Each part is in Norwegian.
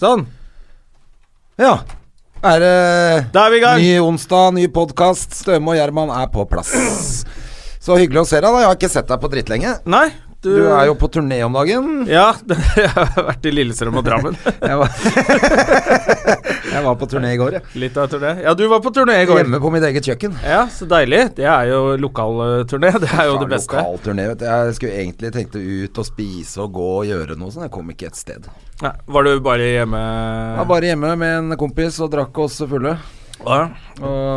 Sånn. Ja. Er det Da er vi i gang. Ny onsdag, ny podkast. Støme og Gjerman er på plass. Så hyggelig å se deg. da Jeg har ikke sett deg på drittlenge. Nei, du, Du er jo på turné om dagen. Ja, jeg har vært i Lillestrøm og Drammen. Jeg var, jeg var på turné i går, jeg. Litt av turné. Ja, du var på turné i går. Hjemme på mitt eget kjøkken. Ja, så deilig. Det er jo lokalturné. Det er jo det beste. Lokal turné, vet du. Jeg skulle egentlig tenkt å ut og spise og gå og gjøre noe sånt. Jeg kom ikke et sted. Jeg Nei, var du bare hjemme var bare hjemme med en kompis og drakk oss fulle. Ja.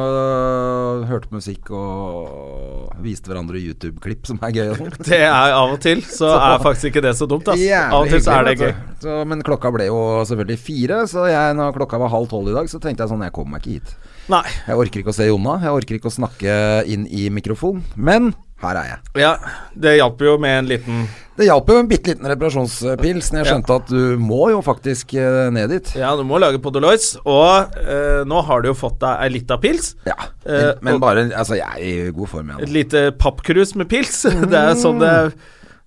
Og hørte musikk og viste hverandre YouTube-klipp, som er gøy. og sånt. Det er av og til, så er faktisk ikke det så dumt, ass. Jævlig Av og til så er det hyggelig, gøy. vet du. Så, men klokka ble jo selvfølgelig fire, så jeg, når klokka var halv tolv i dag, så tenkte jeg sånn Jeg kommer meg ikke hit. Nei. Jeg orker ikke å se Jonna. Jeg orker ikke å snakke inn i mikrofon. Men her er jeg. Ja, det hjalp jo med en liten Det hjalp jo en bitte liten reparasjonspils når jeg skjønte at du må jo faktisk eh, ned dit. Ja, du må lage Podolois, og eh, nå har du jo fått deg ei lita pils. Ja. Eh, Men, men og- bare Altså, jeg er i god form Et igjen. lite pappkrus med pils. Det er jo sånn det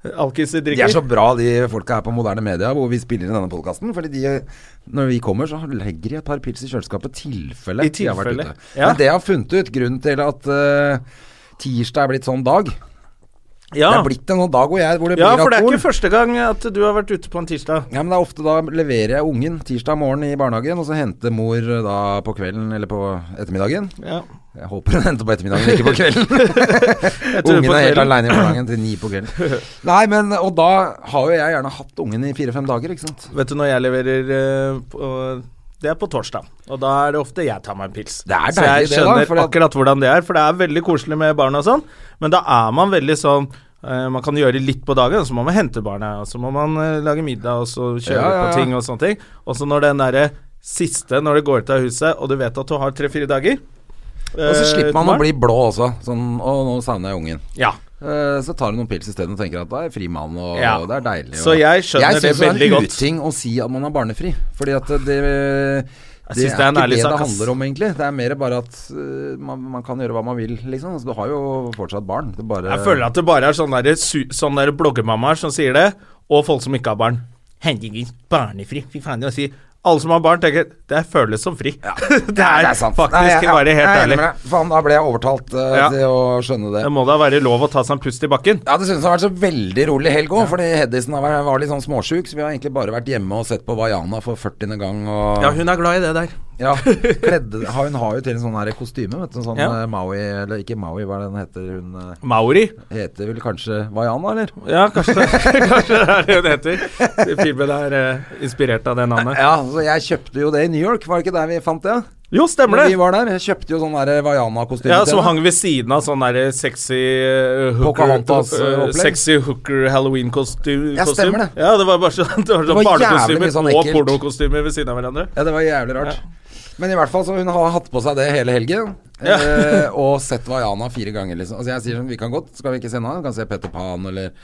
alkiser De Mm. er drikker. så bra, de folka her på moderne media, hvor vi spiller inn denne podkasten. Fordi de, når vi kommer, så legger de et par pils i kjøleskapet tilfelle I de har vært tilfelle, ute. ja. Men det jeg har funnet ut, grunnen til at eh, tirsdag er blitt sånn dag ja. Det er blitt en sånn dag hvor, jeg, hvor det ja, blir for det er alkohol. ikke første gang at du har vært ute på en tirsdag. Ja, men det er ofte da leverer jeg ungen tirsdag morgen i barnehagen, og så henter mor eh, da på kvelden eller på ettermiddagen. Ja. Jeg håper hun henter på ettermiddagen, ikke på kvelden. tror ungen på er helt kvelden. aleine i barnehagen til ni på kvelden. Nei, men Og da har jo jeg gjerne hatt ungen i fire-fem dager, ikke sant. Vet du når jeg leverer eh, på, Det er på torsdag, og da er det ofte jeg tar meg en pils. Det er Så jeg deilig det da, skjønner fordi at- akkurat hvordan det er, for det er veldig koselig med barn og sånn, men da er man veldig sånn eh, man kan gjøre litt på dagen, og så må man hente barna, og så må man eh, lage middag, og så kjøre Ja, ja, ja. på ting og sånne ting. Og så når den derre siste, når det går ut av huset, og du vet at du har tre-fire dager Og Eh, så slipper man å bli blå også. Sånn Å, nå savner jeg ungen. Ja. Eh, Så tar du noen pils isteden og tenker at da er jeg fri mann, og, Ja. og det er deilig. Og, Så jeg skjønner jeg det synes det veldig er godt. en uting å si at man er barnefri, fordi at det det er, synes det er en ikke ærlig det sak, det ass. handler om, egentlig. Det er mer bare at eh, man, man kan gjøre hva man vil, liksom. Altså, du har jo fortsatt barn. Det bare Jeg føler at det bare er sånne, der, su- sånne der bloggermammaer som sier det, og folk som ikke har barn. Herregud, barnefri. Fy faen, jeg sier Alle som har barn, tenker det føles som fri. det Nei, er, det er sant. faktisk Nei, jeg- bare jeg er helt enig ærlig. med deg. Faen, da ble jeg overtalt eh, Ja. til å skjønne det. Det må da være lov å ta seg en pust i bakken. Ja, det synes jeg har vært så veldig rolig helg òg, fordi Hedisen har vært, var litt sånn småsjuk, så vi har egentlig bare vært hjemme og sett på Vaiana for 40. gang og Ja, hun er glad i det der. Ja, kledde, ha- hun har jo til en sånn her kostyme, vet du. Sånn Ja. eh, Maui, eller ikke Maui, hva er det den heter? Hun eh, Maori. heter vel kanskje Vaiana, eller? Ja, kanskje det, kanskje det er det hun heter. Filmen er eh, inspirert av det navnet. Ja, så jeg kjøpte jo det i New York, var det ikke der vi fant det? Jo, stemmer Når vi det. var der, jeg kjøpte jo sånn der Vaiana-kostyme. Ja, til Som henne. hang ved siden av sånn derre sexy eh, hooker Pocahontas, eh, eh, opplegg. Sexy hooker halloween-kostyme. Ja, stemmer det. Ja, det var bare sånn, det var Det sånn var jævlig barnekostymer mye sånn og ekkelt. pornokostymer ved siden av hverandre. Ja, det var jævlig rart. Men i hvert fall, så hun har hatt på seg det hele helgen. Ja. Eh, og sett Vaiana fire ganger, liksom. Altså jeg sier sånn, vi kan godt, skal vi ikke se noe? Vi kan se Peter Pan, eller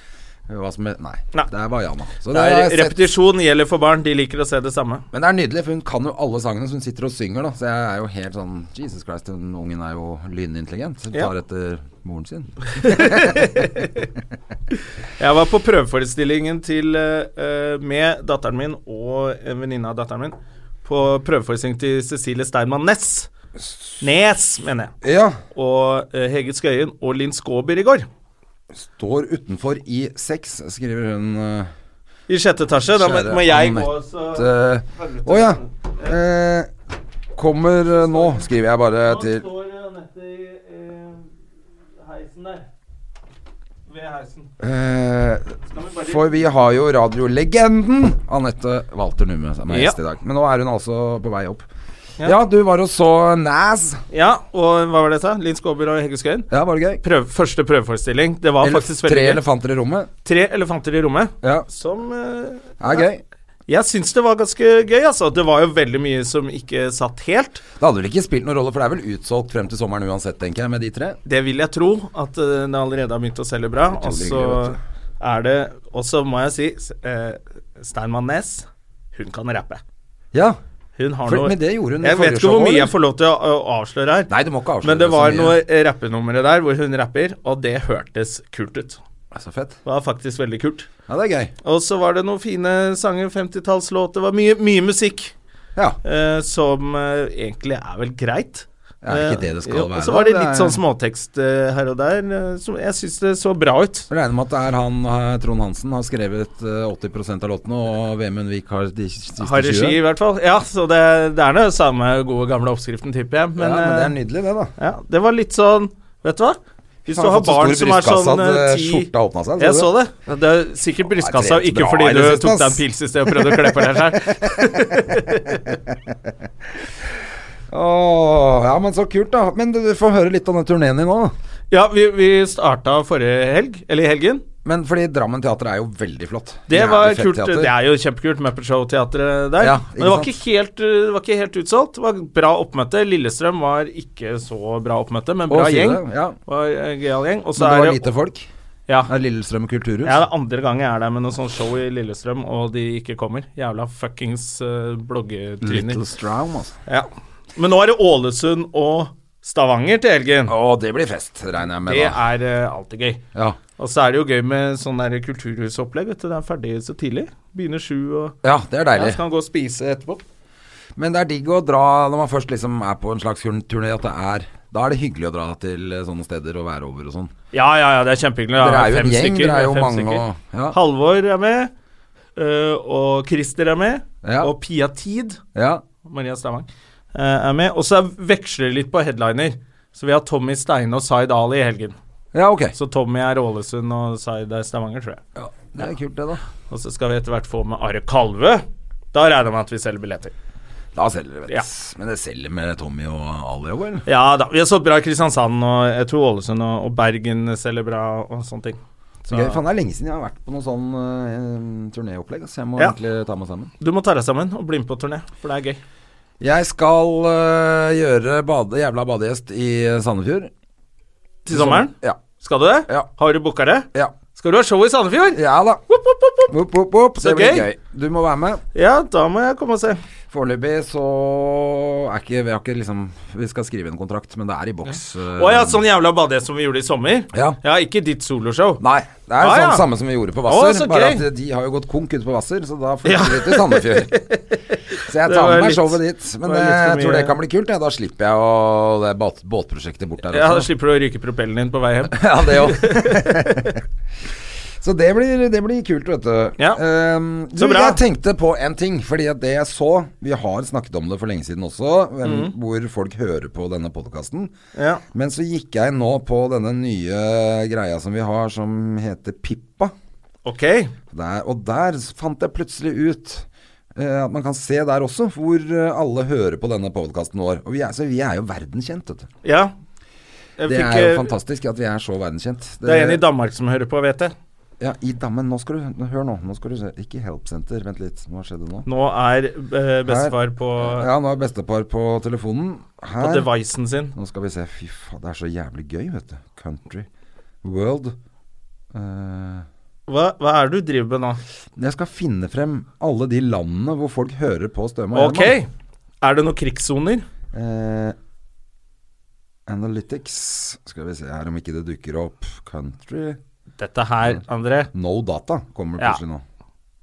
hva som helst. Nei, Nei. det er Vaiana. Så Det det har er, jeg sett repetisjon gjelder for barn, de liker å se det samme. Men det er nydelig, for hun kan jo alle sangene, så hun sitter og synger, da. Så jeg er jo helt sånn Jesus Christ, den ungen er jo lynintelligent. Hun Ja. tar etter moren sin. Jeg var på prøveforestillingen til, eh, eh, med datteren min og en venninne av datteren min på prøveforestilling til Cecilie Steinmann Næss. Nes, mener jeg. Ja. Og eh, Hege Skøyen og Linn Skåber i går. Står utenfor i seks, skriver hun. eh, I sjette etasje. Da må- Kjære må jeg gå, Anette. så eh, Å ja. Eh, kommer eh, nå, skriver jeg bare til står Anette i eh, heisen der. Ved heisen. eh, Skal vi For vi har jo radiolegenden Anette Walter Numme som er Ja. gjest i dag. Men nå er hun altså på vei opp. Ja. Ja, du var og så Naz. Ja, og hva var det jeg sa? Linn Skåber og Hege Skøyen. Ja, var det gøy? Prøv, første prøveforestilling. Det var Elef faktisk tre veldig gøy. elefanter i rommet. Tre elefanter i rommet. Ja, Som eh, det er gøy. Jeg syns det var ganske gøy, altså. Det var jo veldig mye som ikke satt helt. Det hadde vel ikke spilt noen rolle, for det er vel utsolgt frem til sommeren uansett, tenker jeg, med de tre. Det vil jeg tro, at eh, det allerede har begynt å selge bra. Og Det er utrolig så gøy, vet er det Og så må jeg si s- eh, Steinmann Næss, hun kan rappe. Ja. Hun har For- noe men det gjorde hun i Jeg vet forrige ikke hvor show, mye eller? jeg får lov til å, å avsløre her. Nei, du må ikke avsløre men det så var mye. noe eh, rappenummeret der hvor hun rapper, og det hørtes kult ut. Så fett. Det var faktisk veldig kult. Ja, det er gøy. Og så var det noen fine sanger, 50-tallslåter. Det var mye, mye musikk Ja. eh, som eh, egentlig er vel greit. Ja, er ikke Eh, det det skal jo, være, Og så var det da? Det litt er- sånn småtekst eh, her og der. eh, som jeg syns det så bra ut. Jeg regner med at det er han eh, Trond Hansen har skrevet eh, 80 av låtene, og Vemund Vik har de siste Har regi, 20. i hvert fall. Ja, så det, det er den samme gode, gamle oppskriften, tipper jeg. Men, Men, ja, men det er eh, nydelig, det, da. ja, det var litt sånn Vet du hva? Hvis Faen, du har fått så barn stor som er brystkassa sånn at, eh, eh, ti skjorta åpna seg, så Jeg du så det. Det er sikkert brystkassa, det er ikke bra fordi i du det siste, tok deg en ass. pils i sted og prøvde å klippe deg sjøl. Åh, ja, men så kult, da. Men du, du får høre litt om den turneen din nå. da. Ja, vi, vi starta forrige helg, eller i helgen. Men fordi Drammen teater er jo veldig flott. Det Jævlig var fett kult. teater. Det er jo kjempekult, Muppet Show-teatret der. Ja, ikke Men det var sant? ikke, helt, uh, det var ikke helt utsolgt. Det var bra oppmøte. Lillestrøm var ikke så bra oppmøte, men Å, bra sier gjeng. du det? Ja. Var uh, gøyal gjeng. Og Men så det er var det lite folk. Ja. Det er Lillestrøm kulturhus. Ja, det er andre gang jeg er der med noe sånt show i Lillestrøm, og de ikke kommer. Jævla fuckings uh, bloggetryner. Little Strown, altså. Ja. Men nå er det Ålesund og Stavanger til helgen. Å, det blir fest, regner jeg med. Det da. er uh, alltid gøy. Ja. Og så er det jo gøy med sånn der kulturhusopplegg. Vet du, det er ferdig så tidlig. Begynner sju og ja, det er ja, deilig. så kan man gå og spise etterpå. Men det er digg å dra når man først liksom er på en slags turné, at det er Da er det hyggelig å dra til eh, sånne steder og være over og sånn. Ja, ja, ja, det er kjempehyggelig. Dere Ja, er jo en fem gjeng, stykker, dere er ja, jo fem mange stykker. og ja. Halvor er med, øh, og Christer er med, Ja. og Pia Tid, ja. Maria Stavang, øh, er med. Og så er- veksler det litt på headliner. Så vi har Tommy Steine og Zaid Ali i helgen. Ja, ok. Så Tommy er Ålesund, og Zaid er Stavanger, tror jeg. Ja, det er kult, det, da. Og så skal vi etter hvert få med Are Kalve. Da regner jeg med at vi selger billetter. Da selger det, vet du. Ja. Men det selger med Tommy og Ali òg, eller? Ja da. Vi har solgt bra i Kristiansand, og jeg tror Ålesund og, og Bergen selger bra, og sånne ting. Så- Gøy, faen, det er lenge siden jeg har vært på noe sånn eh, turnéopplegg, så jeg må Ja. egentlig ta meg sammen. du må ta deg sammen og bli med på turné, for det er gøy. Jeg skal eh, gjøre bade, jævla badegjest i Sandefjord. Til sommeren? Ja. Skal du det? Ja. Har du booka det? Ja, Skal du ha show i Sandefjord? ja da. Woop, woop, woop, woop. Opp, opp, opp. Så Det blir gøy. gøy. Du må være med. Ja, da må jeg komme og se. Foreløpig så er ikke Vi har ikke liksom Vi skal skrive en kontrakt, men det er i boks. eh, Å ja, sånn jævla badegjest som vi gjorde i sommer? Ja. ikke ditt soloshow. Nei, det er Ah, sånn ja. samme som vi gjorde på Hvasser. Å, så bare gøy. at de har jo gått konk ute på Hvasser, så da flytter Ja. vi til Sandefjord. Så jeg Det tar var med meg litt- showet dit. Men var litt eh, for jeg tror det mye- kan bli kult. Ja. Da slipper jeg å det båt, båtprosjektet bort der Ja, da også. slipper du å ryke propellen din på vei hjem. Ja, det òg. Så det blir, det blir kult, vet du. Ja. Ehm, du Så bra. Jeg tenkte på en ting, fordi at det jeg så Vi har snakket om det for lenge siden også, hvem, Mhm. hvor folk hører på denne podkasten. Ja. Men så gikk jeg nå på denne nye greia som vi har, som heter Pippa. Ok. Der, og der fant jeg plutselig ut eh, at man kan se der også hvor eh, alle hører på denne podkasten vår. Og vi er, så vi er jo verdenskjent, vet du. Ja. Jeg Det fikk, er jo eh, fantastisk at vi er så verdenskjent. Det er en i Danmark som hører på, vet jeg. Ja, i dammen. Nå skal du Hør nå. nå skal du se. Ikke Help Center. Vent litt. Hva skjedde nå? Nå er eh, bestefar på, Ja, nå er bestefar på telefonen. på Her. devicen sin. Nå skal vi se. Fy faen, det er så jævlig gøy, vet du. Country. World. Eh, Hva, hva er det du driver med nå? jeg skal finne frem alle de landene hvor folk hører på Støme og Ok. Er det noen krigssoner? Gjerman. Eh, analytics Skal vi se her om ikke det dukker opp. Country Dette her, André, No data kommer Ja. plutselig nå.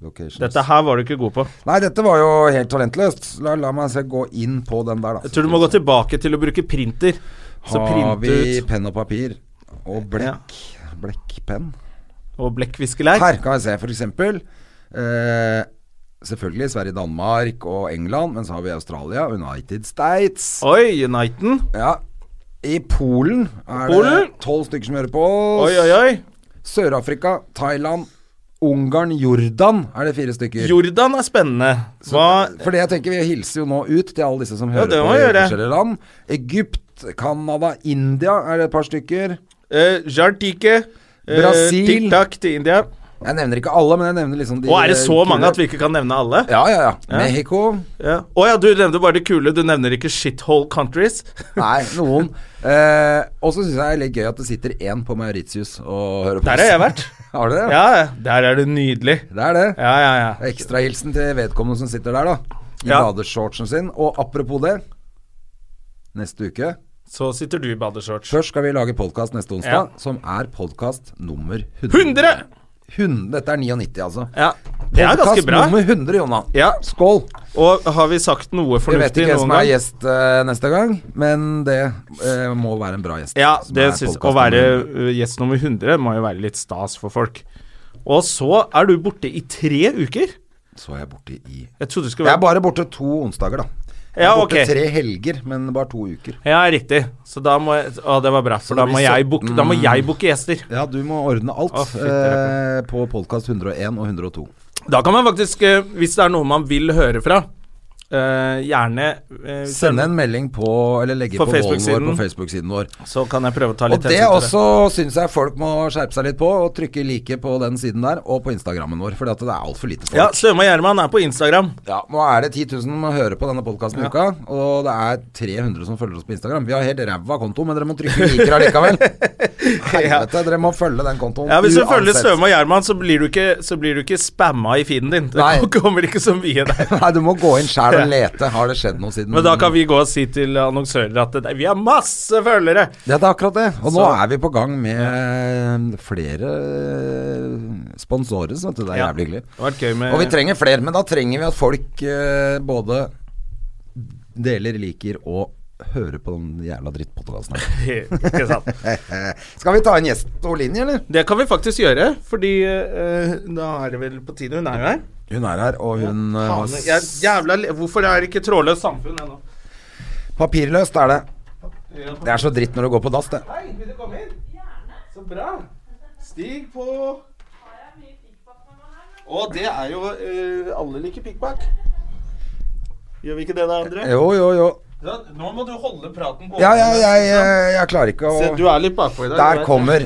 Locations. dette her var du ikke god på. Nei, dette var jo helt talentløst. La, la meg se, gå inn på den der, da. Jeg tror du må gå tilbake til å bruke printer. Så Har printe vi ut penn og papir og blekk? Blekkpenn? og blekkviskelær. Her kan vi se, for eksempel. Eh, selvfølgelig Sverige, Danmark og England, men så har vi Australia, United States. Oi, Uniten. Ja. I Polen er Polen? det tolv stykker som hører på Oi, oi, oss. oi. Sør-Afrika, Thailand, Ungarn, Jordan er det fire stykker. Jordan er spennende. Hva Fordi jeg tenker Vi hilser jo nå ut til alle disse som Ja, hører det på må i vi gjøre. forskjellige land. Egypt, Canada, India er det et par stykker. eh, Jartike. eh, Brasil. Tiktak til India. Jeg nevner ikke alle, men jeg nevner liksom de Og er det så eh, mange kule. at vi ikke kan nevne alle? Ja, ja, ja. Mexico. Ja. Å ja, du nevnte bare det kule, du nevner ikke shithole countries. Nei, noen. Eh, og så syns jeg det er litt gøy at det sitter én på Mauritius og hører på. Der oss. har jeg vært. har dere det? Ja, ja, der er det nydelig. Det er det. Ja, ja, ja. Ekstrahilsen til vedkommende som sitter der, da. I Ja. badeshortsen sin. Og apropos det. Neste uke Så sitter du i badeshorts. Først skal vi lage podkast neste onsdag, Ja. som er podkast nummer 100. 100! Hun- Dette er 99, altså. Ja, det er ganske Podcast bra. nummer 100, Jonna. Ja. Skål. Og har vi sagt Vi noe vet fornuftig ikke hvem noen som er gang? gjest eh, neste gang, men det eh, må være en bra gjest. Ja, som det er synes, podcast Å være nummer 100. ø, gjest nummer 100 må jo være litt stas for folk. Og så er du borte i tre uker. Så er jeg borte i Jeg trodde du skulle Jeg er være bare borte to onsdager, da. Jeg er Ja, borte ok. tre helger, men bare to uker. Ja, riktig. Så da må jeg Å, det var bra, for det da blir Mm. må jeg booke Da må jeg booke gjester. Ja, du må ordne alt Å, fytti eh, på podkast 101 og 102. Da kan man faktisk, ø, hvis det er noe man vil høre fra, ø, gjerne eh, ø, Send en melding på, eller legge På på, volden vår Facebook-siden. på Facebook-siden vår. Så kan jeg prøve å ta Og litt det hensyn til også syns jeg folk må skjerpe seg litt på, og trykke like på den siden der, og på Instagrammen vår, fordi at det er altfor lite folk. Ja, Støme og Gjerman er på Instagram. Ja, nå er det 10 000 som hører på denne podkasten i uka, og det er 300 som følger oss på Instagram. Vi har helt ræva konto, men dere må trykke liker allikevel. Helvete, dere må følge den kontoen Ja, Hvis du følger uansett. Støme og Gjerman, så blir du ikke, så blir du ikke spamma i feeden din. Det Nei. kommer ikke så mye der. Nei, du må gå inn sjæl og lete. Har det skjedd noe siden Men da kan vi gå og si til annonsører at det, vi har masse følgere! Ja, det er akkurat det. Og nå Så- er vi på gang med flere eh, sponsorer, så vet du. Det er Ja. jævlig hyggelig. Det har vært gøy med Og vi trenger flere, men da trenger vi at folk eh, både deler, liker og hører på den jævla drittpodkasten her. Ikke sant? Skal vi ta en gjest på linje, eller? Det kan vi faktisk gjøre, fordi eh, da er det vel på tide. Hun er jo her. Hun er her, og hun eh, har Faen, jeg, jævla, le- hvorfor er det ikke trådløst samfunn ennå? s- Papirløst er det. Det er så dritt når du går på dass, det. Hei, vil du komme inn? Så bra. Stig på. Og det er jo eh, Alle liker pikkbakk. Gjør vi ikke det, da, André? Jo, jo, jo. Ja, Nå må du holde praten på Ja, ja, jeg, eh, jeg klarer ikke Se, å du er litt bakpå i dag. Der kommer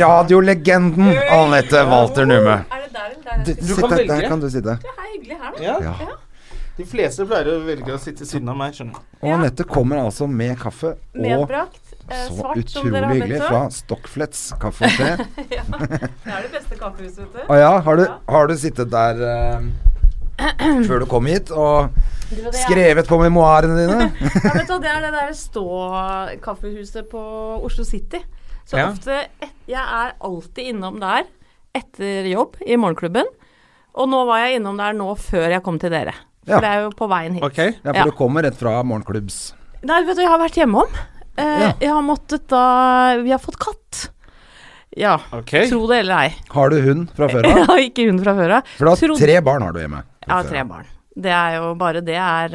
radiolegenden Anette Walter Numme. Er det der eller der? Du, kan sitt der, velge. der kan du sitte. Hei, hyggelig her, da. Ja. Ja. De fleste pleier å velge å sitte siden av meg, skjønner du. Og Anette kommer altså med kaffe og Medbrakt. Eh, så svart, som utrolig dere har bedt hyggelig om. fra Stockflets kaffe og te. Det er det beste kaffehuset, vet du. Å Ah, ja, har du, har du sittet der eh, før du kom hit og Du vet, det er- skrevet på memoarene dine? Ja, vet du, hva, det er det der stå-kaffehuset på Oslo City. Så Ja. ofte et, Jeg er alltid innom der etter jobb i morgenklubben. Og nå var jeg innom der nå før jeg kom til dere. For Ja. det er jo på veien hit. Ja, for Ja. du kommer rett fra morgenklubbs. Nei, vet du, jeg har vært hjemme om. Eh, Ja. Jeg har måttet da Vi har fått katt. Ja. Ok. Tro det eller ei. Har du hund fra før av? Jeg har ikke hund fra før av. For du har Trodde- tre barn har du hjemme. Jeg har Fra tre før. barn. Det er jo bare det er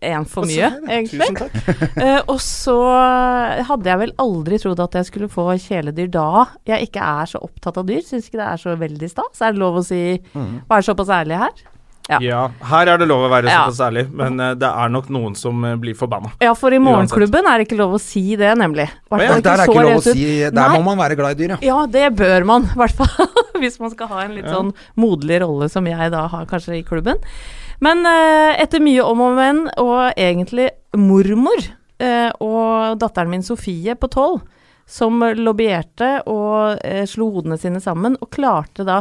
én for mye, egentlig. Tusen takk. Eh, og så hadde jeg vel aldri trodd at jeg skulle få kjæledyr da jeg ikke er så opptatt av dyr. Syns ikke det er så veldig stas. Er det lov å si Mm. Være såpass ærlig her? Ja. Ja, her er det lov å være Ja. såpass ærlig, men eh, det er nok noen som eh, blir forbanna. Ja, for i morgenklubben er det ikke lov å si det, nemlig. Hvert Å ja, fall Nei, der er så ikke lov å rett ut. si Der Nei. må man være glad i dyr, ja. Ja, det bør man, i hvert fall. Hvis man skal ha en litt sånn moderlig rolle som jeg da har kanskje i klubben. Men eh, etter mye om og men, og egentlig mormor eh, og datteren min Sofie på tolv, som lobbyerte og eh, slo hodene sine sammen, og klarte da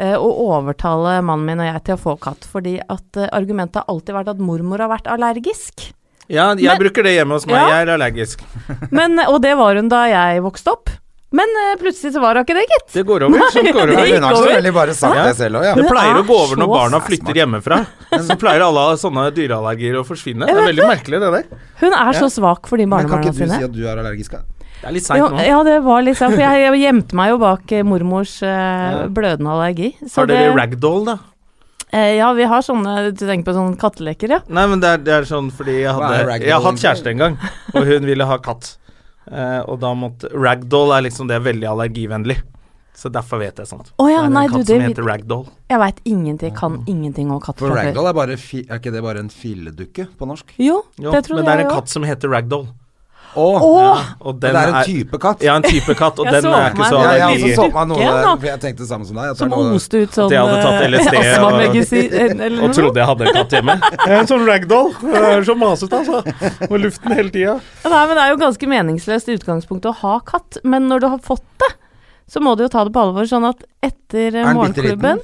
eh, å overtale mannen min og jeg til å få katt. Fordi at eh, argumentet har alltid vært at mormor har vært allergisk. Ja, jeg bruker det hjemme hos meg, Ja. jeg er allergisk. Men, og det var hun da jeg vokste opp. Men eh, plutselig så var hun ikke det, gitt. Det går over. Sånn går det over. gikk Hun har så over. veldig bare sagt Ja. det selv òg, Det ja. Det pleier å er gå over når så barna smart. flytter hjemmefra. Så pleier alle å ha sånne dyreallergier å forsvinne. Det er veldig merkelig, det der. Hun er så svak for de Men kan barnebarna ikke du sine. si at du er allergisk? da? Det er litt Jo, seint nå. ja, det var litt sånn, for jeg, jeg gjemte meg jo bak eh, mormors eh, blødende allergi. Så Har dere ragdoll, da? eh, ja, vi har sånne, du tenker på sånne katteleker, ja. Nei, men det er, det er sånn fordi jeg Hva er hadde ragdoll Jeg har hatt egentlig? kjæreste en gang, og hun ville ha katt. Eh, og da måtte Ragdoll er liksom det er veldig allergivennlig. Så derfor vet jeg sånt. Å ja, det er en nei, katt du, som det- heter Mm. Ragdoll. Jeg veit ingenting, kan ingenting om katter. For fra før. ragdoll er bare fi, Er ikke det bare en filledukke på norsk? Jo, Jo, det trodde men det er en jeg jo. katt som heter Ragdoll. Å, Åh! Og det er en type katt. Ja, en type katt, og Jeg den så er for meg ikke det. så Ja, jeg, er også billig. så meg noe Lykken, der, da. for jeg tenkte det samme som deg. at det Som er noe- oste ut sånn de hadde tatt eh, LSD og- astmamedisin, eller Og noe trodde jeg hadde en katt hjemme. Jeg er en sånn ragdoll. Jeg er så masete, altså. Med luften hele tida. Ja, nei, men Det er jo ganske meningsløst i utgangspunktet å ha katt, men når du har fått det, så må du jo ta det på alvor. Sånn at etter eh, Er den bitte morgenklubben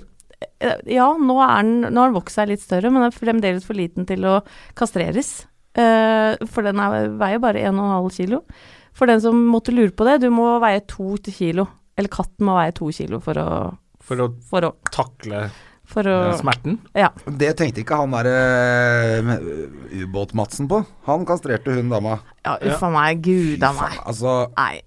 Eh, Ja, nå er den- nå har den vokst seg litt større, men den er fremdeles for liten til å kastreres. Eh, for den er, veier bare 1,5 kilo. For den som måtte lure på det, du må veie 2 kilo. Eller katten må veie 2 kilo for å For å For å, takle for å smerten. Ja. Det tenkte ikke han derre ubåt-Madsen på. Han kastrerte hun dama. ja Uffa meg, gud a meg. Altså, Nei.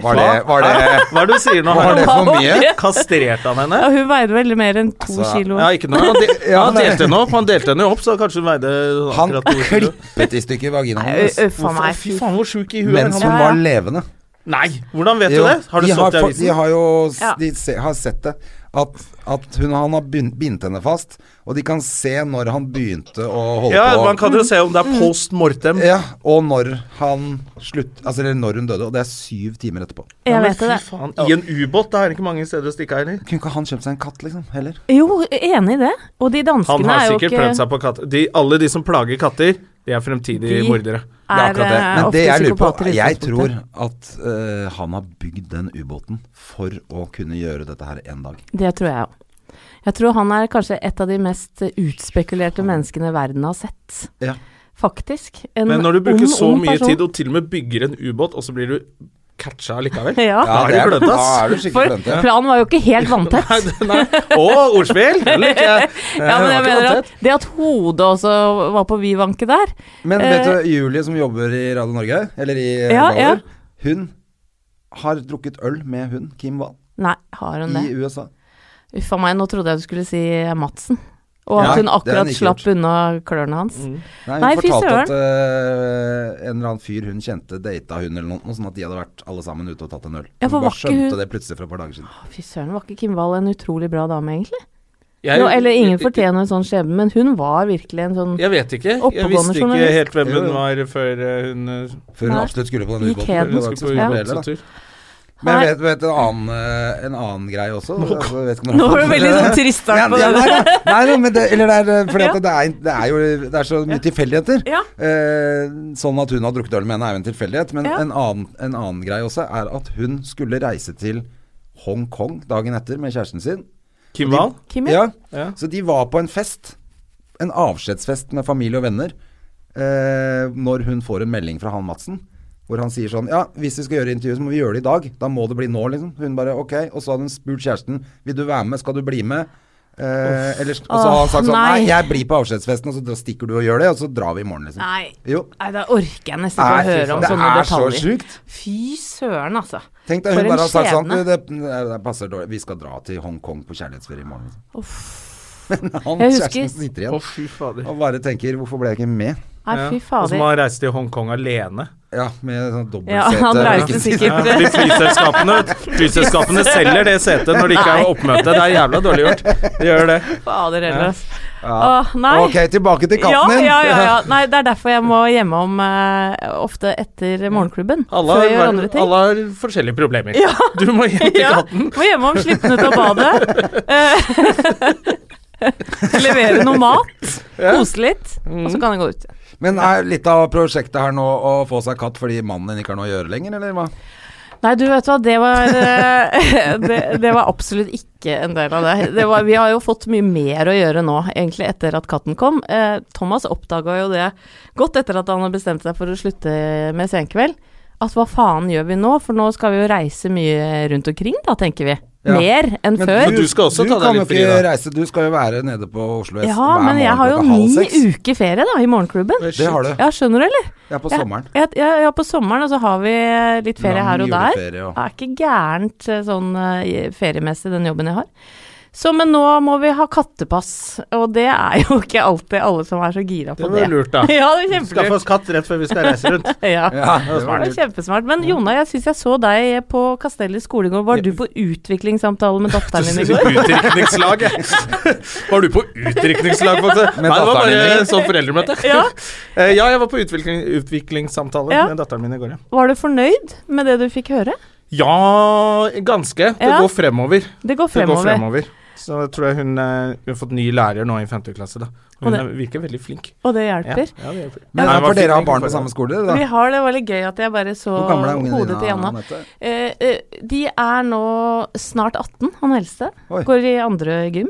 var det, var det Hva er det du sier nå? Var det Harald? for mye? Kastrerte han henne? Ja, hun veide vel mer enn to Altså, kilo. Ja, ikke noe. Han, de Ja, han nei. delte henne opp, han delte henne opp, så kanskje hun veide Han akkurat to kilo. klippet i stykker vaginaen Nei, hennes ø- Uffa meg. Fy faen, hvor sjuk i huet er mens sånn hun han? Ja, ja. var levende. Nei! Hvordan vet Jo, du det? Har du de stått fått- i De avisen? har jo s- Ja. de se, har sett det. At, at hun, han har begynt- bindt henne fast, og de kan se når han begynte å holde Ja, på. man kan jo se om det er post mortem. Ja, og når han slutt... Altså, eller når hun døde, og det er syv timer etterpå. Jeg Men vet det. Fy faen, I en ubåt, da er det ikke mange steder å stikke av inn i. Kunne ikke han kjøpt seg en katt, liksom? Heller. Jo, enig i det. Og de Han danskene har er jo sikkert ikke prøvd seg på katter. De, alle de som plager katter, de er fremtidige De- mordere. Det er akkurat det. eh, Men ofte det jeg lurer på, psykopater i jeg tror utgangspunktet. at eh, han har bygd den ubåten for å kunne gjøre dette her en dag. Det tror jeg òg. Jeg tror han er kanskje et av de mest utspekulerte menneskene verden har sett. Ja. Faktisk. En Men når du bruker ung, så ung mye person- tid og til og med bygger en ubåt, og så blir du catcha likevel Ja. Da er du klønete, Da ass. er du For skikkelig klønete. planen var jo ikke helt vanntett. Nei, det- nei. Å, ordspill! Det liker jeg. Ja, Det var men jeg ikke mener vanntett. at det at hodet også var på vid vanke der Men vet du, Julie som jobber i Radio Norge, eller i eh, Eh, Ja, Valder, hun har drukket øl med hun, Kim Wahl, Nei, har hun det? i USA. Uff a meg, nå trodde jeg du skulle si Madsen. Og at Nei, det har hun hun akkurat ikke slapp gjort. unna klørne hans. Mm. Nei, hun Nei, fy fortalte søren. at eh, en eller annen fyr hun kjente, data hun eller noe, sånn at de hadde vært alle sammen ute og tatt en øl. Ja, for hun var bare ikke skjønte hun- det plutselig for et par dager siden. Fy søren, var ikke Kim Wahl en utrolig bra dame, egentlig? Jeg- Nå, eller ingen fortjener en sånn skjebne, men hun var virkelig en sånn Jeg vet ikke. Jeg Oppegående visste ikke journalist. helt hvem Jo, hun jo. var før eh, hun eh, Før hun Nei. absolutt skulle på den Gikk ubåten. heden. Det var ikke skulle så på smart Ja. heller, da. ubåttur. Men Nei. jeg vet, vet en, annen, eh, en annen greie også. altså, jeg vet ikke om dere har Nå var det fått med veldig dere sånn trist start på Ja, det. nei, nei, nei, nei, men det, eller det er, eh, fordi at det, er, det er jo det er så mye tilfeldigheter. Ja. Eh, sånn at hun har drukket øl med henne er jo en tilfeldighet. Men Ja. en, annen, en annen greie også er at hun skulle reise til Hongkong dagen etter med kjæresten sin. Kim Wahl? Kimmy? Ja. Ja. Så de var på en fest. En avskjedsfest med familie og venner. Eh, når hun får en melding fra han Madsen. Hvor han sier sånn Ja, hvis vi skal gjøre intervju, så må vi gjøre det i dag. Da må det bli nå, liksom. Hun bare OK. Og så hadde hun spurt kjæresten Vil du være med, skal du bli med? Eh, eller, og så har han Åh, sagt sånn nei. Nei, jeg blir på avskjedsfesten, og så dra- stikker du og gjør det, og så drar vi i morgen, liksom. Nei. Jo. Nei, da orker jeg nesten Nei, ikke å fy høre om faen, sånne det er så detaljer. sjukt. Fy søren, altså. Tenk deg For hun en bare har sagt sånn skjebne. Du, det, det det passer dårlig. Vi skal dra til Hongkong på kjærlighetsferie i morgen. Liksom. Men han Jeg husker- kjæresten sitter Å, igjen fy fader. og bare tenker Hvorfor ble jeg ikke med? Nei, Ja. fy Og så må fader. han reise til Hongkong alene. Ja, med sånn Ja, dobbeltsete. han reiste Ikke- Ja, sikkert eh, fordi flyselskapene, flyselskapene selger det setet når de ikke er oppmøte. Det er jævla dårlig gjort. De gjør det. Fader heller, altså. Ja. Åh, nei. Ok, tilbake til Ja, katten din. ja, ja, ja. Nei, det er derfor jeg må hjemme om eh, ofte etter morgenklubben. Alle før jeg har, gjør andre ting. alle har forskjellige problemer. Du må hjem til Ja, katten. må hjemme om slippene til badet. Eh, Levere noe mat, kose litt, og Mm. så kan jeg gå ut. Men er litt av prosjektet her nå å få seg katt fordi mannen din ikke har noe å gjøre lenger, eller hva? Nei, du vet hva, det var, eh, det, det var absolutt ikke en del av det. det var, vi har jo fått mye mer å gjøre nå, egentlig, etter at katten kom. Eh, Thomas oppdaga jo det godt etter at han hadde bestemt seg for å slutte med Senkveld. At hva faen gjør vi nå, for nå skal vi jo reise mye rundt omkring, da, tenker vi. Ja. Mer enn Men før. du skal også ta deg kan jo litt fri, ikke da. reise, du skal jo være nede på Oslo S Ja, men jeg har jo ni uker ferie, da, i morgenklubben. Det har du. Ja, skjønner du, eller? Ja, på Ja. sommeren. Ja, ja, ja, på sommeren, og så har vi eh, litt ferie Lang her og der. juleferie og- Det er ikke gærent eh, sånn eh, feriemessig, den jobben jeg har. Så, men nå må vi ha kattepass, og det er jo ikke alltid alle som er så gira Det på det. var lurt, da. ja, det er Skaff kjempelurt. oss katt rett før vi skal reise rundt. Ja. Ja, det var var Det var kjempesmart. Men Jona, jeg syns jeg så deg på Kastellet skole i går. Var du på utviklingssamtale med datteren din i går? Utdrikningslag, jeg. Var du på utdrikningslag, faktisk? Nei, det var datteren din, bare eller? sånn foreldremøte. Ja. Eh, Ja, jeg var på utvikling, utviklingssamtale Ja. med datteren min i går, ja. Var du fornøyd med det du fikk høre? Ja, ganske. Det Ja. går fremover. Det går Det går fremover. fremover. Så jeg tror jeg hun, eh, hun har fått ny lærer nå i 5. klasse, da. Og Hun det- er, virker veldig flink. Og det Ja, hjelper. ja, det hjelper. Men Nei, ja, det var for fint dere har barn egentlig for på det. samme skole, dere, Vi da? har det veldig gøy at jeg bare så Hvor gamle er ungene hodet til dine? Janna. Anette? Eh, eh, de er nå snart 18, han eldste. Oi. Går i andre gym.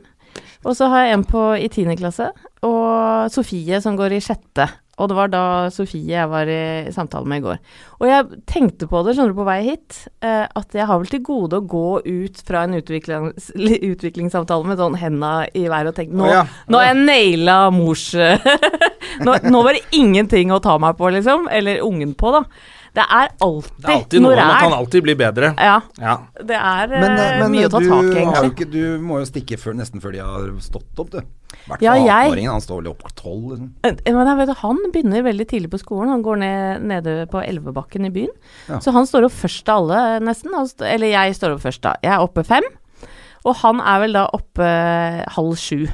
Og så har jeg en på i 10. klasse, og Sofie som går i sjette. Og det var da Sofie jeg var i samtale med i går. Og jeg tenkte på det, skjønner du, på vei hit, eh, at jeg har vel til gode å gå ut fra en utviklings utviklingssamtale med sånn henda i været og tenke nå, Å ja, nå er jeg naila mors nå, nå var det ingenting å ta meg på, liksom. Eller ungen på, da. Det er alltid, Det er alltid noe. når Man det er kan alltid bli bedre. ja, Ja. det er eh, Men, eh, men mye å ta du, tak i, har jo egentlig. ikke, du må jo stikke før, nesten før de har stått opp, du. I hvert Ja, fall jeg- 18-åringen. Han står vel opp tolv, liksom. Eh, Men jeg vet, at han begynner veldig tidlig på skolen. Han går ned, nede på Elvebakken i byen. Så han står opp først av alle, eh, nesten. Han st eller jeg står opp først, da. Jeg er oppe fem. Og han er vel da oppe eh, halv sju.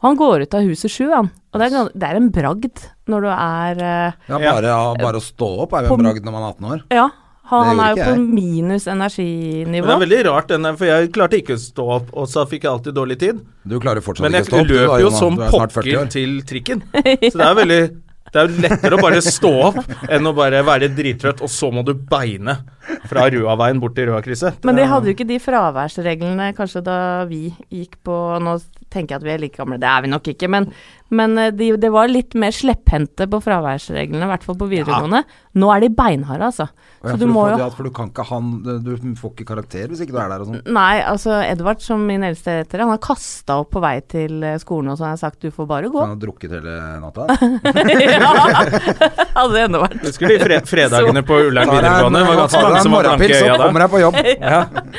Og han går ut av huset sju, han. Og det er, gans- det er en bragd når du er eh, Ja, Ja. bare, bare å stå opp er jo På- en bragd når man er 18 år. Ja. Han gjorde er jo ikke på jeg. minus Men det energinivå. er veldig rart, den der, for jeg klarte ikke å stå opp, og så fikk jeg alltid dårlig tid. Du klarer fortsatt Men jeg ikke å stå opp. du løper da, jo Jonas. som Du er snart 40 pokker år. til trikken. Så det er veldig det er jo lettere å bare stå opp enn å bare være drittrøtt, og så må du beine fra Røaveien bort til Rødkrysset. Men de hadde jo ikke de fraværsreglene kanskje da vi gikk på Nå tenker jeg at vi er like gamle, det er vi nok ikke, men, men eh, de, det var litt mer slepphendte på fraværsreglene, i hvert fall på videregående. Nå er de beinharde, altså. Ja, Så for, du du må får- jo ja, for du kan ikke han Du får ikke karakter hvis ikke du er der og sånn. Nei, altså Edvard, som min eldste heter, han har kasta opp på vei til eh, skolen, og så har jeg sagt du får bare gå. Han har drukket hele natta. ja! Hadde det ennå vært. Husker de fre fredagene på Ullern Tar deg en- videregående? Det var ganske tar deg mange en som var blanke morgenpils, i Så øya da. kommer jeg på jobb.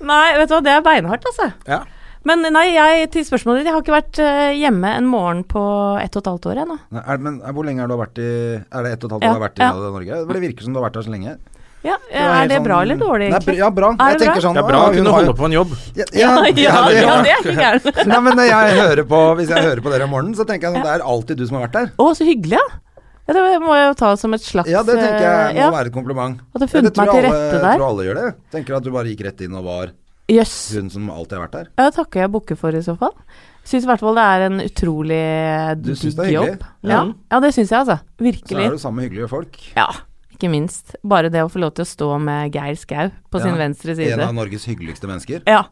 Nei, vet du hva, det er beinhardt, altså. Ja. Men nei, jeg, til spørsmålet ditt, jeg har ikke vært eh, hjemme en morgen på ett og et halvt år ennå. Nei, er, men er, hvor lenge har du vært i Er det ett og et halvt år Ja, du har vært i ja. Norge? For Det virker som du har vært her så lenge. Ja, var er helt det sånn- bra eller dårlig, Nei, br- egentlig? ja, bra. Er jeg det tenker bra? sånn Det er bra ja, å kunne har jo- holde på en jobb. Ja, ja, ja, ja, ja, ja. det er ikke gærent. Nei, men når jeg hører på, Hvis jeg hører på dere om morgenen, så tenker jeg sånn Det er alltid du som har vært der. Å, så hyggelig, ja. ja. Det må jeg jo ta som et slags Ja, det tenker jeg må eh, ja. være et kompliment. At Ja, du har det funnet meg tror til jeg rette alle, der. tror alle gjør det. Tenker at du bare gikk rett inn og var Jøss. hun som alltid har vært der. Ja, det takker jeg Bukke for i så fall. Syns i hvert fall det er en utrolig eh, Du synes det digg er hyggelig? Mm. jobb. Ja. ja, det syns jeg, altså. Så er Virkelig. du sammen med hyggelige folk. Ja, ikke minst. Bare det å få lov til å stå med Geir Skau på sin Ja. venstre En side. av Norges hyggeligste mennesker. Ja.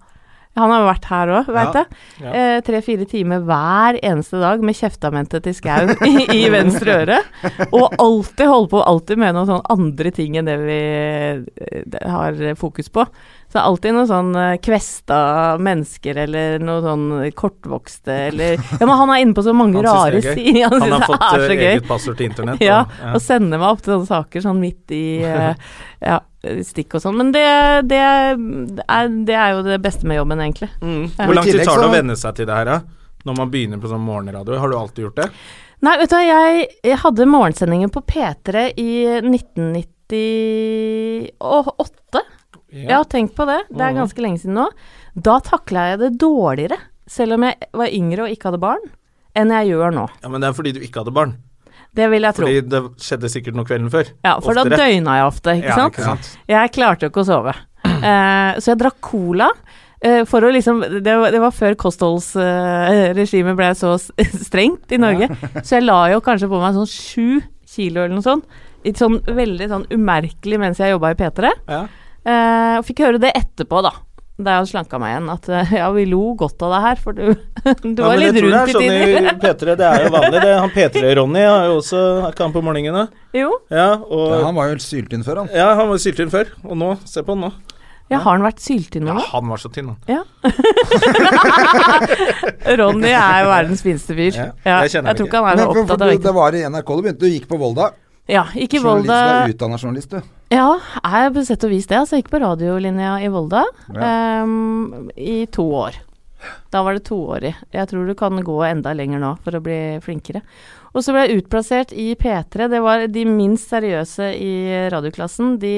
Han har jo vært her òg, veit Ja. jeg. Eh, Tre-fire timer hver eneste dag med kjeftamentet til Skau i, i venstre øre. Og alltid holde på, alltid med noen sånne andre ting enn det vi eh, det- har fokus på. Så alltid noen sånn eh, kvesta mennesker eller noe sånn kortvokste eller Ja, men han er inne på så mange Han rare synes det er sider. Han Han syns har det fått er eh, så gøy. eget passord til internett. Ja, og- ja. og sender meg opp til sånne saker sånn midt i eh, ja, stikk og sånn. Men det, det, er, det er jo det beste med jobben, egentlig. Mm. Hvor lang tid tillegg tar det så- å venne seg til det her, da? Når man begynner på sånn morgenradio? Har du alltid gjort det? Nei, vet du hva, jeg, jeg hadde morgensendinger på P3 i 1998. Ja, tenk på det. Det er ganske lenge siden nå. Da takla jeg det dårligere, selv om jeg var yngre og ikke hadde barn, enn jeg gjør nå. Ja, Men det er fordi du ikke hadde barn. Det vil jeg tro. Fordi det skjedde sikkert noe kvelden før. Ja, for da Oftere. døgna jeg ofte, ikke Ja, sant? ikke sant? Jeg klarte jo ikke å sove. Eh, så jeg drakk cola. eh, For å liksom, det, var, det var før kostholdsregimet ble så s- strengt i Norge. Så jeg la jo kanskje på meg sånn sju kilo eller noe sånt. I sånn veldig sånn umerkelig mens jeg jobba i P3. Ja. Eh, og fikk høre det etterpå, da. Da jeg hadde slanka meg igjen. At eh, ja, vi lo godt av deg her, for du, du var men litt jeg tror det rundt i er tider. sånn i P3, det er jo vanlig. Det. Han P3-Ronny har jo også har ikke han på morgenene. Jo. Ja, Ja, og han var jo syltynn før, han. ja, han var syltynn før, og nå Se på han nå. Ja, har han vært syltynn nå? Ja, han var så tynn, han. Ronny er jo verdens fineste fyr. Ja, Ja, jeg jeg, kjenner ham tror ikke. ikke han er Men så for, for, opptatt av du, det vekten. var i NRK du begynte. Du gikk på Volda. Ja, ikke i Journalist, Volda. Eh, du er utdanna journalist, du. Ja, jeg er på sett og vis det. Altså, jeg gikk på radiolinja i Volda Ja. ehm, i to år. Da var det toårig. Jeg tror du kan gå enda lenger nå for å bli flinkere. Og så ble jeg utplassert i P3. Det var de minst seriøse i radioklassen. De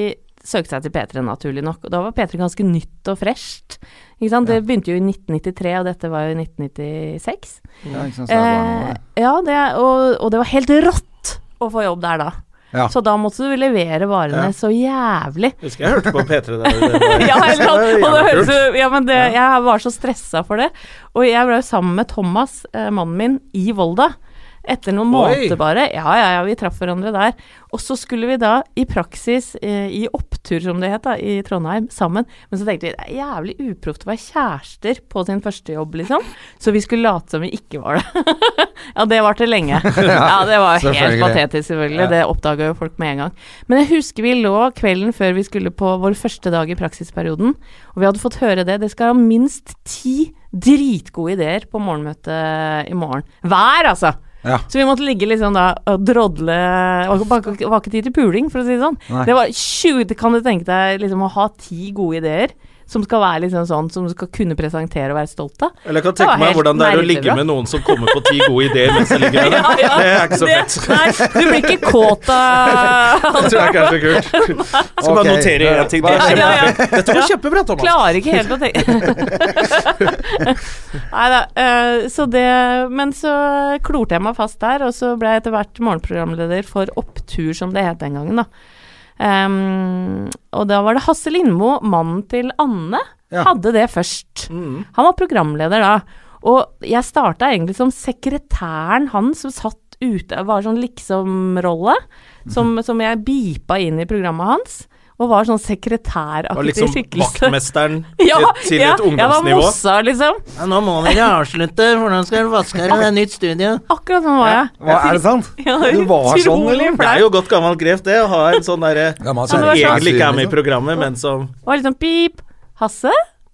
søkte seg til P3, naturlig nok. Og da var P3 ganske nytt og fresht. Ikke sant? Det begynte jo i 1993, og dette var jo i 1996. Ja, ikke sant, så det var noe Eh, der. ja, det, er- og, og det var helt rått å få jobb der da. Ja. Så da måtte du levere varene Ja. så jævlig. Husker jeg hørte på P3 der. ja, eller sånn. Det er og det jævlig høres jo- ja, men det, jeg var så stressa for det. Og jeg ble jo sammen med Thomas, eh, mannen min, i Volda. Etter noen Oi. måneder bare. Ja, ja, ja, vi traff hverandre der. Og så skulle vi da i praksis, eh, i opptur som det het da, i Trondheim, sammen. Men så tenkte vi det er jævlig uproft å være kjærester på sin første jobb, liksom. Så vi skulle late som vi ikke var det. ja, det varte lenge. Ja, det var helt selvfølgelig. patetisk, selvfølgelig. Det oppdaga jo folk med en gang. Men jeg husker vi lå kvelden før vi skulle på vår første dag i praksisperioden, og vi hadde fått høre det. Det skal ha minst ti dritgode ideer på morgenmøtet i morgen. Hver, altså! Ja. Så vi måtte ligge liksom da og drodle Det var ikke- var ikke tid til puling, for å si det sånn. Nei. Det var 20 det Kan du tenke deg liksom å ha ti gode ideer? Som skal være liksom sånn som du skal kunne presentere og være stolt av. Eller jeg kan Det var tenke meg helt hvordan det er å ligge nervebra. med noen som kommer på ti gode ideer mens jeg ligger der. Ja, ja. Det er ikke så fett. Det- Nei, du blir ikke kåt av Det tror jeg ikke er så kult. Skal Ok. bare notere én ting. Det er Ja, ja, ja. kjempe- Dette var kjempebra, Thomas. Klarer ikke helt å tenke Nei da. eh, så det Men så klorte jeg meg fast der, og så ble jeg etter hvert morgenprogramleder for Opptur, som det het den gangen, da. Ehm, og da var det Hasse Lindmo, mannen til Anne, Ja. hadde det først. Mm. Han var programleder da. Og jeg starta egentlig som sekretæren hans, som satt ute, var sånn liksom-rolle, som, Mhm. som jeg beepa inn i programmet hans. Og var sånn Og sekretæraktig liksom skikkelse. vaktmesteren Ja, til, til ja, et Jeg var ungdomsnivå. mossa, liksom. nå må dere avslutte. Hvordan skal dere vaske her? Det er nytt studio. Akkurat sånn var jeg. Hva, er det sant? Ja, det Du var utrolig sånn, eller? Det er jo godt gammelt grep, det. Å ha en sånn derre Gammel som det var sånn- egentlig ikke er med liksom. i programmet, men som Det var litt sånn pip. Hasse?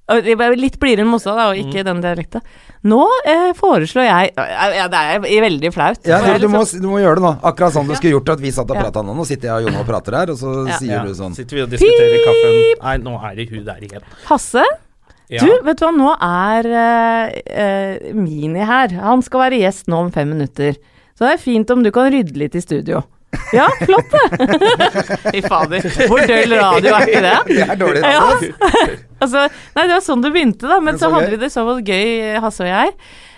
Og det var Litt blidere enn Mossa, da, og ikke Mm. den dialekten. Nå eh, foreslår jeg ja, Det er veldig flaut. Ja, Og jeg du, du, liksom- må, du må gjøre det nå. Akkurat sånn du skulle gjort at vi satt og prata nå. Nå sitter jeg og Jonna og prater her, og så Ja. sier ja, du sånn sitter vi og diskuterer kaffen. Nei, nå er det hun der igjen. Hasse, Ja. du, vet du hva, nå er eh, eh, Mini her. Han skal være gjest nå om fem minutter. Så det er fint om du kan rydde litt i studio. Ja, flott det! Fy fader, hvor døll radio er ikke det? Det er dårlig. Ja. altså, nei, det var sånn det begynte, da. Men Men så så hadde gøy. vi det så gøy, Hasse og jeg.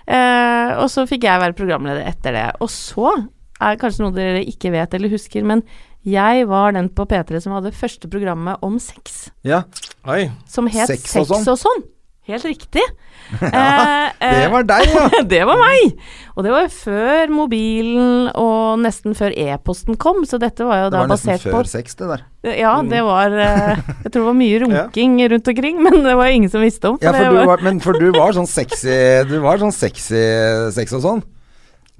Eh, og så fikk jeg være programleder etter det. Og så er det kanskje noe dere ikke vet eller husker, men jeg var den på P3 som hadde første programmet om sex. Ja. Oi. Som het Sex Sex og og sånn. Helt riktig. Eh, Det eh, var deg, ja. det var meg! Og det var jo før mobilen og nesten før e-posten kom, så dette var jo Det da var nesten basert på før Mm. sex, det der. ja, det var eh, Jeg tror det var mye runking rundt omkring, men det var ingen som visste om. Ja, det, for du var, var, men for du var sånn sexy Du var sånn sexy sex og sånn.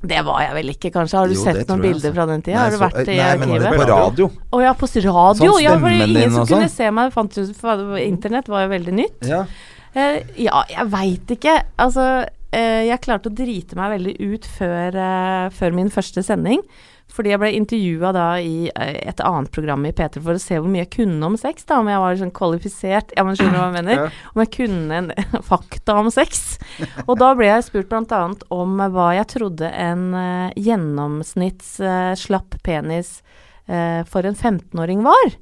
det var jeg vel ikke, kanskje. Har du Jo, sett det noen tror jeg, bilder altså. fra den tida? Nei, Har du så- vært i nei, men arkivet? På radio. Å ja, på s- radio! Sånn ja, for stemmen din ingen som og sånn. kunne se meg. Fant ut, for internett var jo veldig nytt. Ja. Eh, ja, jeg veit ikke. Altså, eh, jeg klarte å drite meg veldig ut før, eh, før min første sending. Fordi jeg ble intervjua da i eh, et annet program i P3 for å se hvor mye jeg kunne om sex. da, Om jeg var sånn kvalifisert Ja, men skjønner du hva jeg mener? Om jeg kunne en fakta om sex. Og da ble jeg spurt bl.a. om eh, hva jeg trodde en eh, gjennomsnitts eh, slapp penis eh, for en 15-åring var.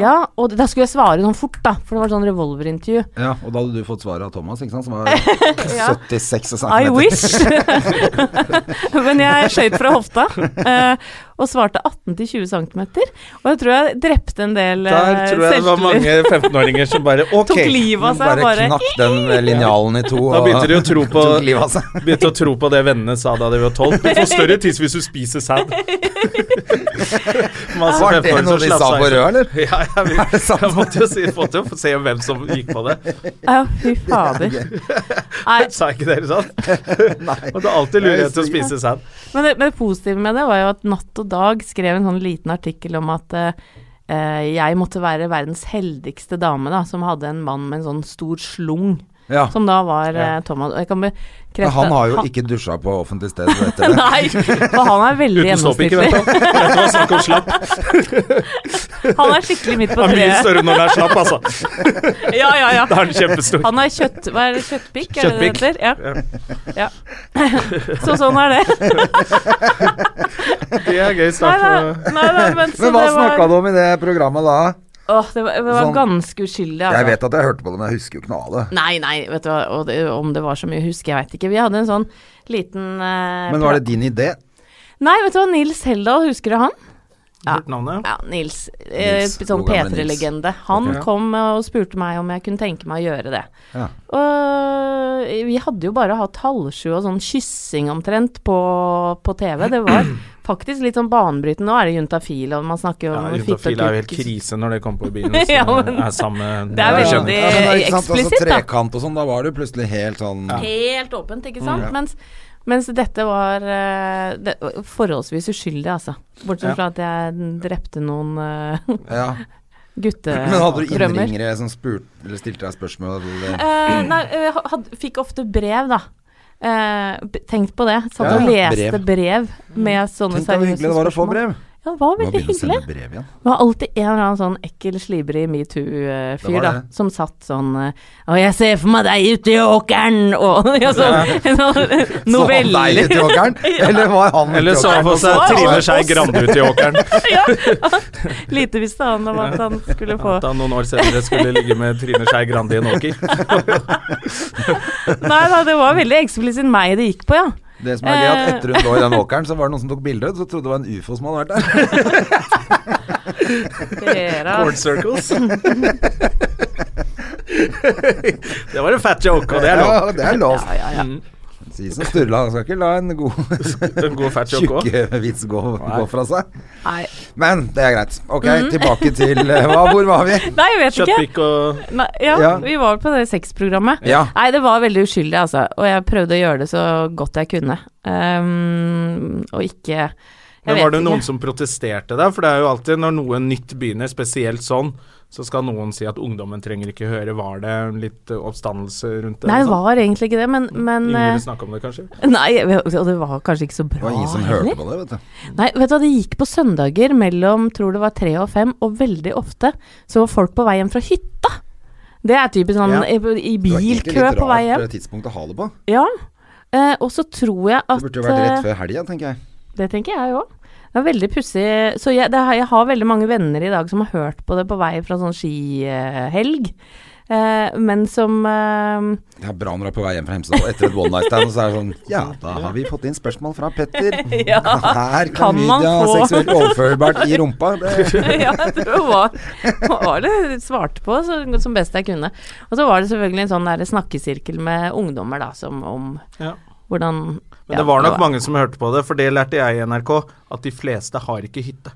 Ja, og da skulle jeg svare sånn fort, da. For det var sånn revolverintervju. ja. Og da hadde du fått svaret av Thomas, ikke sant, som var 76 cm. I wish! Men jeg skøyt fra hofta eh, og svarte 18-20 cm. Og jeg tror jeg drepte en del eh, Der tror jeg det var selvtillit. mange 15-åringer som bare OK. Tok livet av seg Bare, bare. knakk den eh, linjalen i to. Da begynte de å tro på tok livet av seg. Begynte å tro på det vennene sa da de var tolv. Du får større tiss hvis du spiser sæd. Masse Var det 15-åringer som noe de slapp sa seg. på rød, eller? Ja, jeg, Er det sant? jeg måtte jo si, måtte jo se hvem som gikk på det. Ja, fy fader. Nei, Sa ikke dere sånn? Og det er alltid lurere til å spise sæd. men det, men det positive med det var jo at Natt og Dag skrev en sånn liten artikkel om at eh, eh, jeg måtte være verdens heldigste dame, da, som hadde en mann med en sånn stor slung. Ja. Som da var eh, Thomas. Og jeg kan bekrefte Men han har jo ikke dusja på offentlig sted etter det. Nei, for han er veldig Uten gjennomsnittlig. såping, vet du. Dette var snakk om slapp. Han er skikkelig midt på Han er mye treet. større når den er slapp, altså. Ja, ja, ja. Da er den kjempestor. Han er kjøtt... Hva er det? Kjøttbikk? Er det det Kjøttbikk. heter? Ja. ja. Så sånn er det. Det er gøy Nei, start nei, på nei, nei men så Men hva det var- snakka du om i det programmet da? Åh, det var, det var Sånn. ganske uskyldig. Altså. Jeg vet at jeg hørte på det, men jeg husker jo ikke noe av det. Nei, nei, vet du hva, og det, om det var så mye, husker jeg veit ikke. Vi hadde en sånn liten eh, Men var det din idé? Nei, vet du hva, Nils Heldal, husker du han? Ja. hørt navnet. Ja, Nils. Eh, Nils, Sånn hvor gammel er Nils? P3-legende. Han Ok, ja. kom eh, og spurte meg om jeg kunne tenke meg å gjøre det. Ja. Og eh, vi hadde jo bare hatt halvsju og sånn kyssing omtrent på, på TV. Det var faktisk litt sånn banebrytende. Nå er det juntafil, og man snakker jo Ja, om fitte og Juntafil er jo helt kuk. krise når det kommer på begynnelsen. Ja, og men- er samme Ja, Det er jeg veldig- skjønner. Ja, men ikke sant, eksplisitt, altså, da. trekant og sånn, da var du plutselig helt sånn Helt åpent, ikke sant? Mm. mens, mens dette var eh, det, forholdsvis uskyldig, altså. Bortsett Ja. fra at jeg drepte noen uh, ja. Men hadde du guttedrømmer. innringere som spurte, eller stilte deg spørsmål? Eller? Eh, nei, eh, ha- had, fikk ofte brev, da. Eh, b- tenkt på det. Satt Ja, og ja. Mm. leste brev, med sånne Tenk deg hvor hyggelig det var å få spørsmål. brev. Ja, det var Nå veldig begynner å hyggelig. sende brev igjen. Det var alltid en eller annen sånn ekkel, slibrig Det metoo-fyr var da, det. som satt sånn eh, Å, jeg ser for meg deg ute i åkeren! Og ja, sånn, en sånn Så han deg noveller. litt i åkeren? Eller var han litt i Eller så åkeren? for seg Hva? Trine Skei Grande ut i åkeren. Lite visste han om at han skulle få At han noen år senere skulle ligge med Trine Skei Grande i en åker. Nei da, det var veldig eksplisitt meg det gikk på, ja. Det som er gøy, at etter hun lå i den Eh. åkeren, så var det noen som tok bilde, så trodde det var en ufo som hadde vært der. Dere, Corn circles. det var en fat joke, og det er lov. Mm. Ja, det er lov. ja, ja. Si som Sturla, han skal ikke la en god, En god fat joke òg. tjukke vits gå, gå fra seg. Nei. Men det er greit. Ok, Mhm. tilbake til eh, hva, Hvor var vi? Nei, jeg vet ikke. Kjøttpikk og Nei, ja, Ja. vi var på det sexprogrammet. Ja. Nei, det var veldig uskyldig, altså. Og jeg prøvde å gjøre det så godt jeg kunne. Ehm, og ikke jeg Men vet var det noen ikke. som protesterte der? For det er jo alltid når noe nytt begynner, spesielt sånn, så skal noen si at ungdommen trenger ikke høre. Var det litt eh, oppstandelse rundt det? Nei, det og sånn? var egentlig ikke det, men, men Ingen ville eh, snakke om det, sånn. kanskje? Nei, og det var kanskje ikke så Det bra var ingen som heller. hørte på det, vet du. Nei, vet du hva, det gikk på søndager mellom, tror det var tre og fem, og veldig ofte så var folk på vei hjem fra hytta. Det er typisk sånn Ja. eh, i Det var egentlig bilkø litt på vei hjem. rart eh, tidspunkt å ha det på. Ja. Eh, og så tror jeg at Det burde jo vært rett før helga, tenker jeg. Det tenker jeg òg. Det er veldig pussig. Så jeg, det, har- jeg har veldig mange venner i dag som har hørt på det på vei fra sånn skihelg. Eh, men som eh, Det er bra når du er på vei hjem fra Hemsedal etter et one night stand, og så er det sånn Ja, da har vi fått inn spørsmål fra Petter. Ja, Her Ah, kan kan man klamydia få- seksuelt overførbart i rumpa. Det, ja, jeg tror det var, var det svarte på så, som best jeg kunne. Og så var det selvfølgelig en sånn der snakkesirkel med ungdommer, da, som om Ja. hvordan Men det var nok mange som hørte på det, for det lærte jeg i NRK, at de fleste har ikke hytte.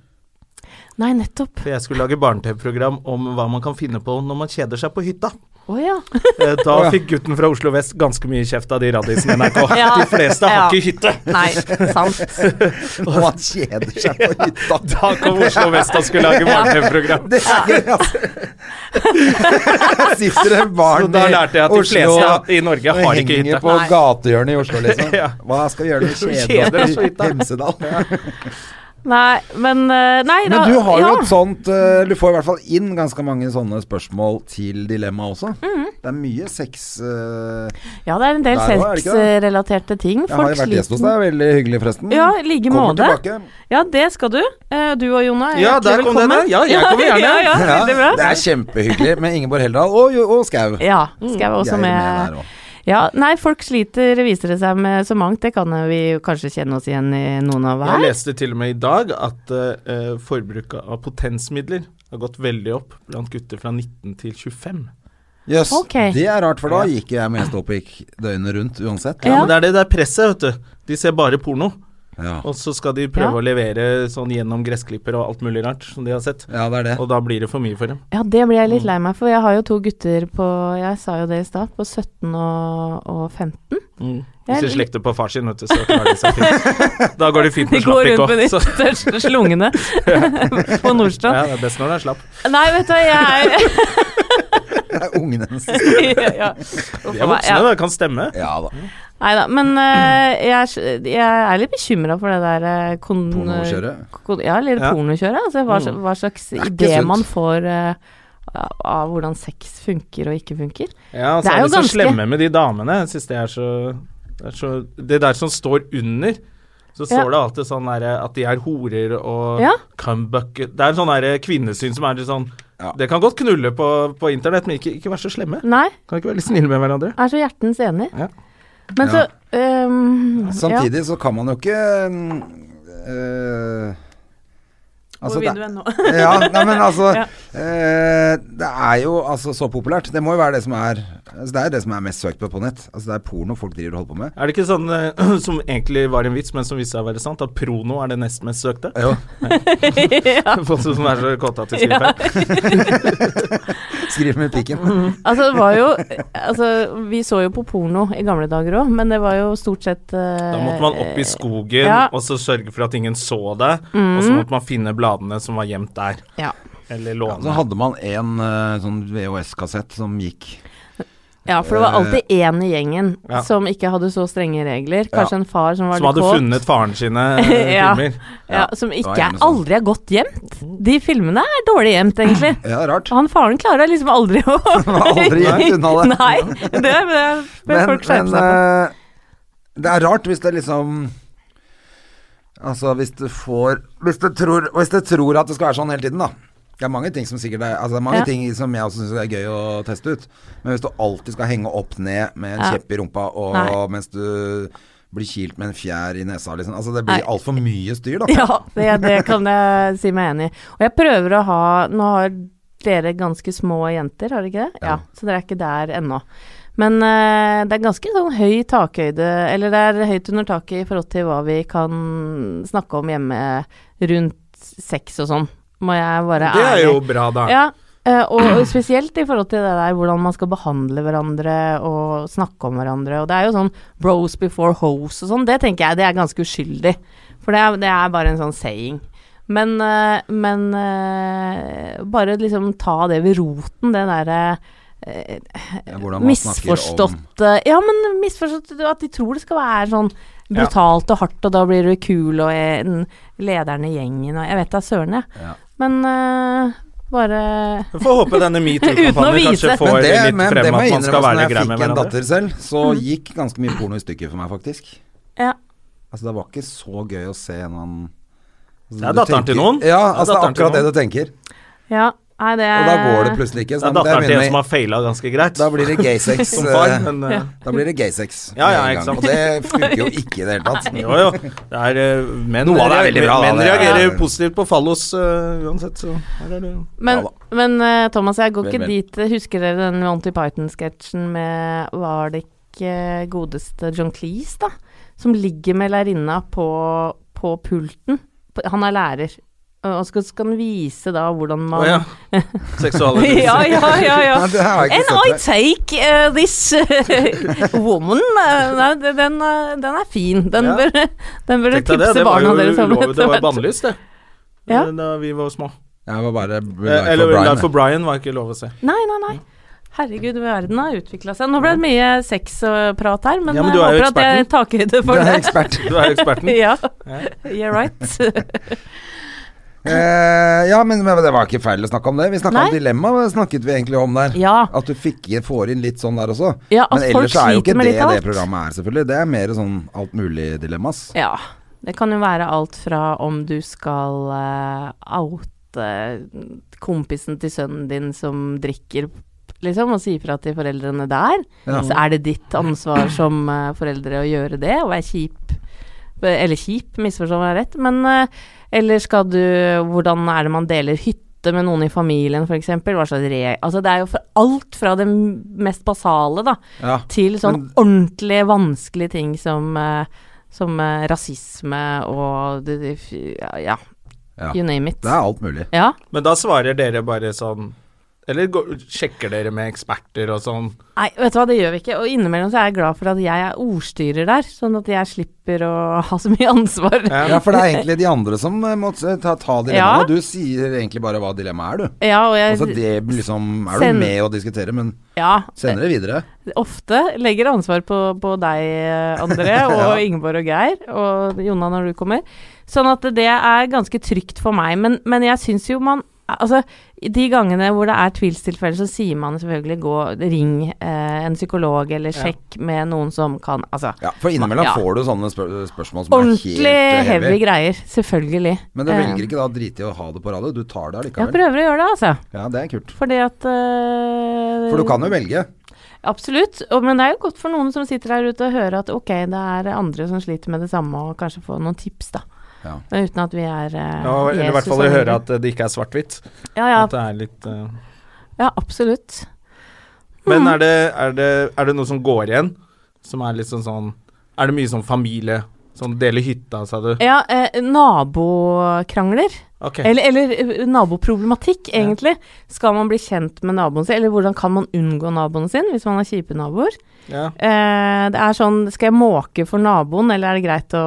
Nei, nettopp. For jeg skulle lage barne-TV-program om hva man kan finne på når man kjeder seg på hytta. Å ja. Eh, Da ja. fikk gutten fra Oslo vest ganske mye kjeft av de radisene i NRK. Ja. De fleste Ja. har ikke hytte. Nei, sant. og han kjeder seg på hytta. Da kom Oslo vest og skulle lage barne-TV-program. Det er gøy, altså. Sitter det barn Så da lærte jeg at de fleste i Norge og har ikke henger hytte. på gatehjørnet i Oslo, liksom. Ja. Hva skal vi gjøre når vi Kjeder kjeder oss på oss hytta. i Hemsedal? Nei, men eh, Nei, da Men du har jo ja. et sånt eh, Du får i hvert fall inn ganske mange sånne spørsmål til dilemma også. Mhm. Det er mye sex eh, Ja, det er en Der del også, er det ikke det? sexrelaterte ting. Jeg har jo vært gjest hos deg, veldig hyggelig forresten. Ja, i like Kommer måte. tilbake. Ja, det skal du. Eh, Du og Jonna er Ja, hjertelig der kom den der. velkommen. Ja, jeg kommer gjerne. ja, ja, veldig bra. Det er kjempehyggelig med Ingeborg Heldal og, Jo- og Skau. Ja, skal jeg Mm. Jeg også er med med. der også. Ja, nei, folk sliter, viser det seg med så mangt. Det kan vi jo kanskje kjenne oss igjen i noen av Jeg her. leste til og med i dag at eh, forbruket av potensmidler har gått veldig opp blant gutter fra 19 til 25. Jøss, Ok. det er rart, for da gikk jeg med ståpikk døgnet rundt uansett. Ja, Ja. Men det er det der presset, vet du. De ser bare porno, Ja. og så skal de prøve Ja. å levere sånn gjennom gressklipper og alt mulig rart som de har sett. ja, det er det. Og da blir det for mye for dem. Ja, det Mm. blir jeg litt lei meg for. Jeg har jo to gutter på, jeg sa jo det i stad, på 17 og, og 15. Hvis Jeg- de slekter på far sin, vet du, så klarer de seg fint. Da går det fint De med går rundt med de slappikk òg. største slungene på Nordstrand. Ja, det er best når den er slapp. Nei, vet du hva, jeg er Det er ungen hennes. ja. De er voksne, det kan stemme. Ja da. Nei da, men eh, jeg, er- jeg er litt bekymra for det der eh, kon... Pornokjøret? kon- Ja, eller Ja. Mm. pornokjøret. Altså hva, sl- hva slags ikke idé sunt. man får eh, av hvordan sex funker og ikke funker. Ja, og Det så er er jo de så ganske- slemme med de damene. Jeg synes det er så Det, er så, det der som står under, så står Ja. det alltid sånn der, at de er horer og Ja. cumbucket Det er en sånn der kvinnesyn som er litt sånn Ja. Det kan godt knulle på, på internett, men ikke, ikke vær så slemme. Nei, Kan ikke være litt snille med hverandre. er så hjertens enig. Ja. Men så ehm, ja. Samtidig så kan man jo ikke mm, eh, altså, Hvor det- vil du hen nå? ja, nei, men altså Ja. eh, Det er jo altså så populært. Det må jo være det som er altså, Det er det som er mest søkt på på nett. Altså Det er porno folk driver og holder på med. Er det ikke sånn eh, som egentlig var en vits, men som viste seg å være sant, at prono er det nest mest søkte? Jo. Folk som er så kåte at de skriver feil. Skriv med pikken. Altså, det var jo Altså, vi så jo på porno i gamle dager òg, men det var jo stort sett eh, Da måtte man opp i skogen Ja. Mm. og så sørge for at ingen så deg, og så måtte man finne bladene som var gjemt der, Ja. eller Så låne. hadde man en eh, sånn VHS-kassett som gikk Ja, for det var alltid Eh, én i gjengen Ja. som ikke hadde så strenge regler. Kanskje en far som var Som litt hadde kåt. funnet faren sine eh, Ja. filmer. ja, som var ikke gjerne er, sånn. aldri er godt gjemt. De filmene er dårlig gjemt, egentlig. Ja, rart. Han faren klarer liksom aldri å var aldri gjemt unna det. Nei, det, det, bør folk skjerpe seg på. eh, det er rart hvis det liksom Altså, hvis du får Hvis du tror, hvis du tror at det skal være sånn hele tiden, da. Det er mange ting som sikkert er Altså det er mange Ja. ting som jeg også syns er gøy å teste ut. Men hvis du alltid skal henge opp ned med en Ja. kjepp i rumpa, og Nei. mens du blir kilt med en fjær i nesa, liksom Altså det Nei. blir altfor mye styr, da. Ja, det, det kan jeg si meg enig i. Og jeg prøver å ha Nå har dere ganske små jenter, har dere ikke det? Ja. Så dere er ikke der ennå. Men eh, det er ganske sånn høy takhøyde, eller det er høyt under taket i forhold til hva vi kan snakke om hjemme rundt sex og sånn. Må jeg være Det er ærlig. jo bra, da. Ja, eh, og spesielt i forhold til det der hvordan man skal behandle hverandre og snakke om hverandre. Og det er jo sånn bros before hoes og sånn, det tenker jeg det er ganske uskyldig. For det er, det er bare en sånn saying. Men, eh, men eh, bare liksom ta det ved roten, det eh, derre Ja, hvordan man snakker om- misforståtte eh, Ja, men misforstått at de tror det skal være sånn brutalt og hardt, og da blir du kul og en lederen i gjengen og Jeg vet da søren, jeg. Ja. Men eh, bare Vi får håpe denne Uten å metoo-kampanjen kanskje vise. får Men det, litt men det frem må at jeg man innrømme, skal altså, være når litt grei jeg med fikk en hverandre. datter selv, så Mm. gikk ganske mye porno i stykker for meg, faktisk. Ja. Altså, det var ikke så gøy å se en annen altså, Det er datteren til Ja, noen. Det er altså det er datteren til akkurat det noen. du tenker. ja. Nei, det Og da går det plutselig ikke. Det Så er da- det er datteren til en min- som har faila ganske greit. Da blir det gaysex. Som far, eh, men eh, Da blir det gaysex. Ja, med ja, en ikke gang. sant. Og det funker jo ikke i det hele tatt. Jo, jo. Det er, eh, menn Noe av det er veldig bra, da, menn det er- reagerer Ja. positivt på fallos eh, uansett, så her er det jo Men, Ja men eh, Thomas, jeg går Vel, ikke vel. dit. Husker dere den Monty Python-sketsjen med Var det ikke godeste John Cleese, da? Som ligger med lærerinna på, på pulten. På- Han er lærer. Og og skal, skal han vise da hvordan man Å ja. Seksualundervisning. ja, ja, ja, ja. Nei, det har jeg ikke And I sett. take eh, this eh, woman eh, Nei, det- den, eh, den er fin. Den Ja. bør, den Tenk bør deg det, tipse det var jo barna deres om. ulovlig, det var etter hvert. bannlyst, det. Ja. eh, Da vi var små. Jeg var bare Life Eh, of Eller Brian. Life of Brian var ikke lov å se. Nei, nei, nei. Herregud, verden har utvikla seg. Nå ble det mye sexprat her, men, Ja, men du jeg er jo håper at jeg tar høyde Du for er det. ekspert. Du er eksperten. Ja, you're right. Eh, ja, men, men det var ikke feil å snakke om det. Vi snakka om Nei. dilemma, hva snakket vi egentlig om der. Ja. At du fikk, får inn litt sånn der også. Ja, at men ellers folk så er jo sliter ikke med det litt av det alt. programmet er, selvfølgelig. Det er mer sånn alt mulig dilemmas. Ja. Det kan jo være alt fra om du skal eh, oute kompisen til sønnen din som drikker, liksom, og si ifra til foreldrene der. Ja. Så er det ditt ansvar som eh, foreldre å gjøre det, og være kjip. eh, Eller kjip, misforstå meg rett, men eh, eller skal du Hvordan er det man deler hytte med noen i familien, f.eks.? Hva slags re... Altså, det er jo for alt fra det m- mest basale, da, Ja. til sånn ordentlig vanskelige ting som, eh, som eh, rasisme og det, det, f- ja, ja, Ja. you name it. Det er alt mulig. Ja. Men da svarer dere bare sånn Eller går, sjekker dere med eksperter og sånn? Nei, vet du hva, det gjør vi ikke. Og innimellom så er jeg glad for at jeg er ordstyrer der, sånn at jeg slipper å ha så mye ansvar. Ja, Ja, for det er egentlig de andre som eh, må ta, ta Ja. Eh, dilemmaet. Og du sier egentlig bare hva dilemmaet er, du. og jeg Altså det liksom er Send- du med å diskutere, men ja, sender det videre. ofte legger ansvar på, på deg, eh, André, og Ingeborg og Geir, og Jonna når du kommer. Sånn at det er ganske trygt for meg. Men, men jeg syns jo man Altså, de gangene hvor det er tvilstilfeller, så sier man selvfølgelig gå, ring eh, en psykolog, eller sjekk med noen som kan Altså. Ja, for innimellom Ja. får du sånne spør spørsmål som Ordentlig er helt eh, heavy. heavy. greier, selvfølgelig. Men du Eh, velger ikke da å drite i å ha det på radio, du tar det Jeg allikevel. prøver å gjøre det, altså. Ja, det er kult. Fordi at eh, For du kan jo velge. Absolutt. Og, men det er jo godt for noen som sitter der ute og hører at ok, det er andre som sliter med det samme, og kanskje få noen tips, da. Ja. Men Uten at vi er eh, Ja, eller i Jesus hvert fall og å høre Helge. at det ikke er svart-hvitt. ja, ja, At det er litt eh, ja, absolutt. Men er det, er, det, er det noe som går igjen? Som er litt sånn sånn Er det mye sånn familie? Sånn dele hytta, sa du? Ja, eh, nabokrangler. Ok. Eller, eller eh, naboproblematikk, egentlig. Skal man bli kjent med naboen sin, eller hvordan kan man unngå naboen sin hvis man har kjipe naboer? Ja. Eh, det er sånn Skal jeg måke for naboen, eller er det greit å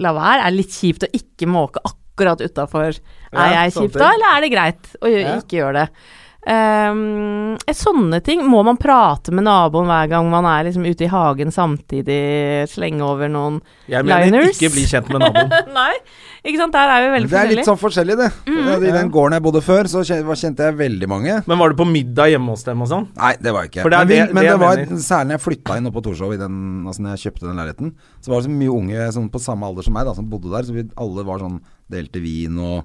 la være? Er det litt kjipt å ikke måke akkurat utafor? Ja, er jeg sånne kjipt da, ting. eller er det greit å gjø- Ja. ikke gjøre det? Ehm, eh, sånne ting. Må man prate med naboen hver gang man er liksom ute i hagen samtidig? Slenge over noen Jeg mener Liners. ikke bli kjent med naboen. Nei, ikke sant. Der er vi veldig Mm. Det er litt forskjellige. sånn forskjellig, det. Ja, I den gården jeg bodde før, så kjen- var- kjente jeg veldig mange. Men var du på middag hjemme hos dem og sånn? Nei, det var jeg ikke. For det er men vi, men det- det det, jeg var mener. særlig når jeg flytta inn oppe på Torshov, i den, altså når jeg kjøpte den leiligheten, så var det så mye unge sånn, på samme alder som meg da, som bodde der. Så vi alle var sånn Delte vin og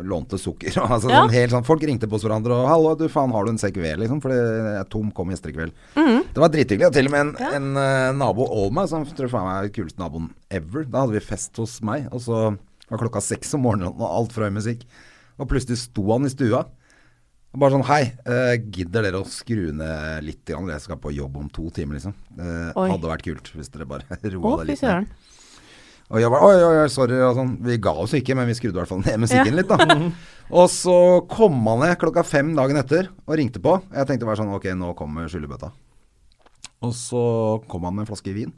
lånte sukker. Og, altså, Ja. sånn, helt sånn, folk ringte på hos hverandre og 'Hallo, du faen, har du en sekk ved?' liksom. Fordi jeg er tom, kom gjester i kveld. Det var drithyggelig. Og til og med en, en eh, nabo over meg, som tror faen meg er den kuleste naboen ever. Da hadde vi fest hos meg, og så var klokka seks om morgenen, og alt for høy musikk. Og plutselig sto han i stua. Og bare sånn Hei, eh, gidder dere å skru ned litt? Grann? Jeg skal på jobb om to timer, liksom. Eh, Oi. hadde vært kult hvis dere bare Å, roa deg fy litt ned. søren. Og jeg bare Oi, oi, oi, sorry. Og sånn. Vi ga oss ikke, men vi skrudde i hvert fall ned musikken litt, da. og så kom han ned klokka fem dagen etter og ringte på. Jeg tenkte bare sånn Ok, nå kommer skyllebøtta. Og så kom han med en flaske vin.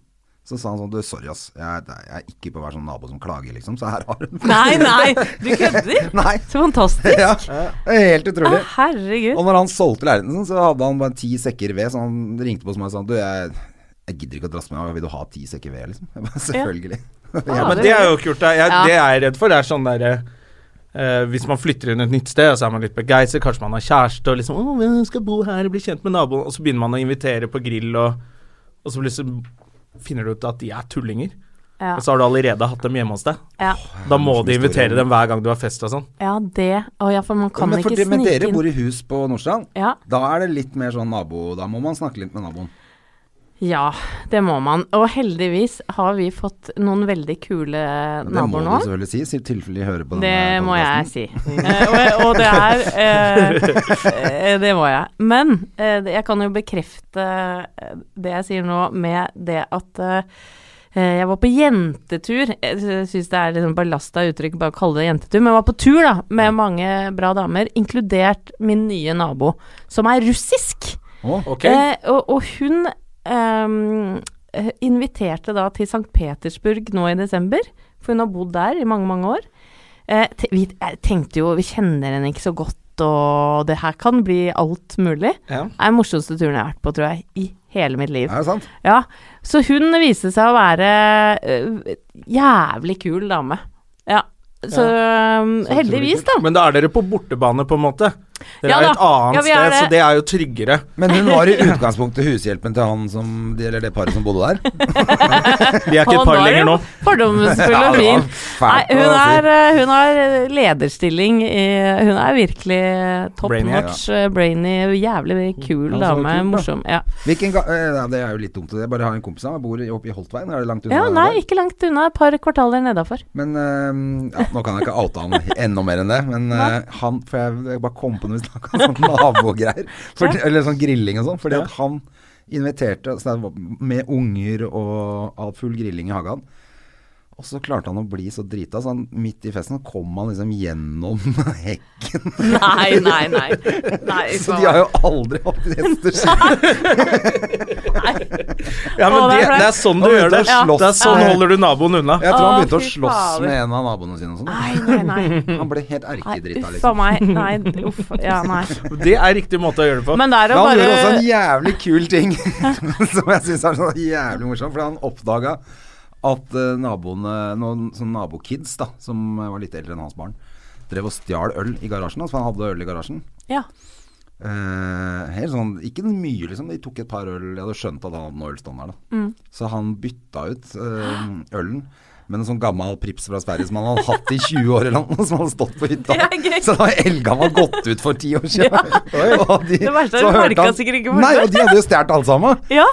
Så sa han sånn Du, sorry, ass. Jeg, jeg er ikke på å være sånn nabo som klager, liksom. Så her har du den. Nei, nei, du kødder? Nei. Så fantastisk. Ja, helt utrolig. Å, herregud. Og når han solgte leiligheten sin, så hadde han bare ti sekker ved, så han ringte på hos meg og sa Du, jeg, jeg gidder ikke å drasse med deg, vil du ha ti sekker ved, liksom? Jeg bare, Selvfølgelig. Ja, Ja, men det- det er jo kult. da. Jeg, Ja. Det jeg er redd for, det er sånn derre eh, hvis man flytter inn et nytt sted, så er man litt begeistret, kanskje man har kjæreste og liksom 'Å, jeg skal bo her og bli kjent med naboen', og så begynner man å invitere på grill, og, og så plutselig finner du ut at de er tullinger. Ja. Og så har du allerede hatt dem hjemme hos deg. Ja. Da må du invitere dem hver gang du har fest og sånn. ja, det Å ja, for man kan men, for ikke de- snike men dere inn. bor i hus på Nordstrand. Ja. Da er det litt mer sånn nabo Da må man snakke litt med naboen. Ja, det må man. Og heldigvis har vi fått noen veldig kule Det må naboer du nå. selvfølgelig si, i tilfelle de hører på denne Det må jeg podcasten. si. Eh, og, og det er eh, eh, Det må jeg. Men eh, det- jeg kan jo bekrefte eh, det jeg sier nå, med det at eh, eh, jeg var på jentetur. Jeg syns det er liksom ballasta uttrykk bare å kalle det jentetur, men jeg var på tur da med mange bra damer, inkludert min nye nabo, som er russisk. Å, Ok? Eh, og, og hun ehm, eh, inviterte da til St. Petersburg nå i desember, for hun har bodd der i mange, mange år. Eh, te- vi jeg tenkte jo, vi kjenner henne ikke så godt, og det her kan bli alt mulig. Ja. Det er den morsomste turen jeg har vært på, tror jeg, i hele mitt liv. Er det sant? Ja, så hun viste seg å være eh, jævlig kul dame. Ja, så Sånn ehm, heldigvis da. Men da er dere på bortebane, på en måte. Dere Ja er da. et annet Ja, vi er sted, så det. det er jo tryggere. Men hun var i utgangspunktet hushjelpen til han som de- Eller det paret som bodde der. Vi er ikke et par lenger nå. Fordomsfull Ja, og det var fin. Nei, fælt hun, å si. er, eh, hun har eh, lederstilling i Hun er virkelig eh, top Brainiac. notch, eh, brainy, jævlig kul Ja, så dame. kult, da. morsom. Ja. Hvilken ga eh, nei, Det er jo litt dumt. Jeg bare har en kompis av meg, bor i- oppe i Holtveien. Er det langt unna? ja, der? nei, ikke langt unna. Et par kvartaler nedafor. Men eh, ja, Nå kan jeg ikke oute han enda mer enn det, men eh, han For jeg, jeg bare kom på når vi snakka om sånn nabogreier, for- eller sånn grilling og sånn, fordi at han inviterte så det var med unger og all full grilling i hagen. Og så klarte han å bli så drita, så han, midt i festen kom han liksom gjennom hekken. Nei, nei, nei. nei Så de har jo aldri hatt hester siden. Ja, men Å, det det, er flaut. det er sånn du Han gjør det. begynte å slåss Det er sånn med- holder du naboen unna. Jeg tror Å, han begynte å fy slåss faen. med en av naboene sine og sånn. Nei, nei, nei. Han ble helt nei erkedrita, uff a liksom. meg. Nei, uff. Ja, nei. Det er riktig måte å gjøre det på. Men det er Men å han gjorde også en bare jævlig kul ting som jeg syns er så jævlig morsom, for han oppdaga at eh, naboene, noen sånne nabokids da, som eh, var litt eldre enn hans barn, drev og stjal øl i garasjen hans, for han hadde øl i garasjen. Ja. Eh, helt sånn, ikke mye, liksom. De tok et par øl. Jeg hadde skjønt at han hadde noe ølstående her, Mm. da. Så han bytta ut eh, ølen med en sånn gammel prips fra Sverige som han hadde hatt i 20 år eller noe, som hadde stått på hytta. Det er gøy. Så da var eldgammel gått ut for 10 år siden. Og de- Det verste er så du hørte merket han- sikkert ikke for Nei, det. og de hadde jo stjålet alt sammen. ja.